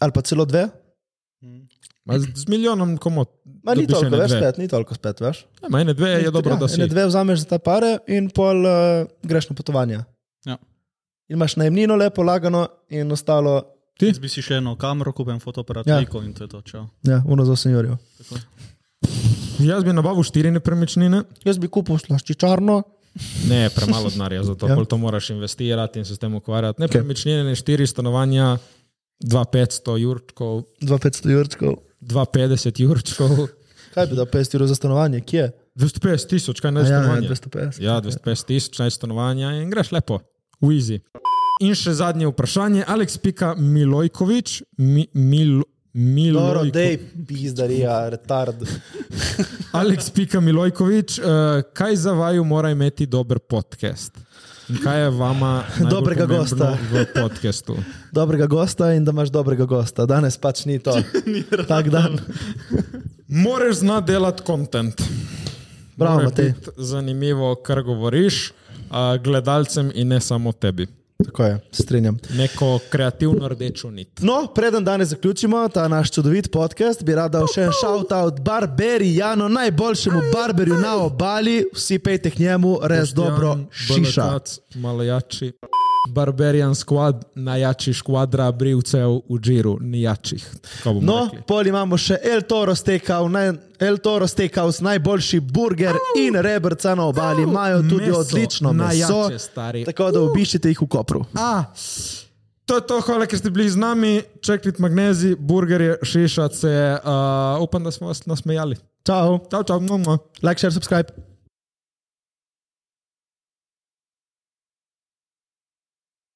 Speaker 3: ali pa celo dve.
Speaker 1: Ma z, z milijonom komod.
Speaker 3: Ma, ni
Speaker 1: dobiš
Speaker 3: toliko,
Speaker 1: ene
Speaker 3: več
Speaker 1: dve.
Speaker 3: spet, ni toliko spet, veš.
Speaker 1: Ja, ma ene dve je dobro,
Speaker 3: ja,
Speaker 1: da si.
Speaker 3: ene Dve vzameš za ta pare in pol uh, greš na potovanje.
Speaker 4: Ja.
Speaker 3: In imaš najemnino lepo, lagano in ostalo,
Speaker 1: Ti?
Speaker 4: Jaz bi si še eno kamero kupil, en fotoaparat,
Speaker 3: Ja.
Speaker 4: ja. in to je to. Čau.
Speaker 3: ja, uno za 8 jurjev.
Speaker 1: Jaz bi nabavil štiri nepremičnine.
Speaker 3: Jaz bi kupil slaščičarno,
Speaker 1: Ne, premalo denarja za to.
Speaker 3: Ja.
Speaker 1: ja. To moraš investirati in se s tem ukvarjati. Nepremičnine, ne štiri stanovanja, 2500 jurčkov,
Speaker 3: 2500 jurčkov.
Speaker 1: 250 jurčkov,
Speaker 3: Kaj bi dal 50 jurjev za stanovanje? Kje?
Speaker 1: 250 tisoč, kaj
Speaker 3: A
Speaker 1: ne
Speaker 3: Ja, ja,
Speaker 1: stanovanja.
Speaker 3: 250.
Speaker 1: Ja, 250 tisoč naj stanovanja in greš lepo, v easy. In še zadnje vprašanje, Aleks Pika Milojkovič, mi, Mil,
Speaker 3: Dobro,
Speaker 1: Milojko,
Speaker 3: dej, pizdarija, retard.
Speaker 1: Aleks Pika Milojkovič, eh, kaj za vaju mora imeti dober podcast? In kaj je vama najbolj
Speaker 3: Dobrega
Speaker 1: pomembno
Speaker 3: gosta.
Speaker 1: v podkastu?
Speaker 3: Dobrega gosta in da imaš dobrega gosta. Danes pač ni to. Tak dan.
Speaker 1: Moraš znati delati kontent.
Speaker 3: Bravo, Matej.
Speaker 1: Zanimivo, kar govoriš eh, gledalcem in ne samo tebi.
Speaker 3: Tako je, se strinjam.
Speaker 1: Neko kreativno rdečo nit.
Speaker 3: No, preden danes zaključimo ta naš čudovit podcast, bi rad dal še en shout-out Barberijanu, najboljšemu barberju na obali. Vsi pejte k njemu, res dobro šiša.
Speaker 1: Baletac, malo jači. Barbarian squad, najjači škvadra brivcev v džiru, ni jačih. Tako bomo
Speaker 3: No,
Speaker 1: rekli.
Speaker 3: pol imamo še El Toro Steakhouse, naj, El Toro Steakhouse najboljši burger in rebrca na obali. Imajo tudi
Speaker 1: Meso,
Speaker 3: odlično meso,
Speaker 1: najjače, stari.
Speaker 3: tako da obiščite jih v Kopru.
Speaker 1: A, to je to, hvala, ker ste bili z nami. Čekajte magnezi, burgerje, šišace. Uh, upam, da smo vas nasmejali.
Speaker 3: Ciao,
Speaker 1: Čau, čau, mnogo.
Speaker 3: like, share, subscribe.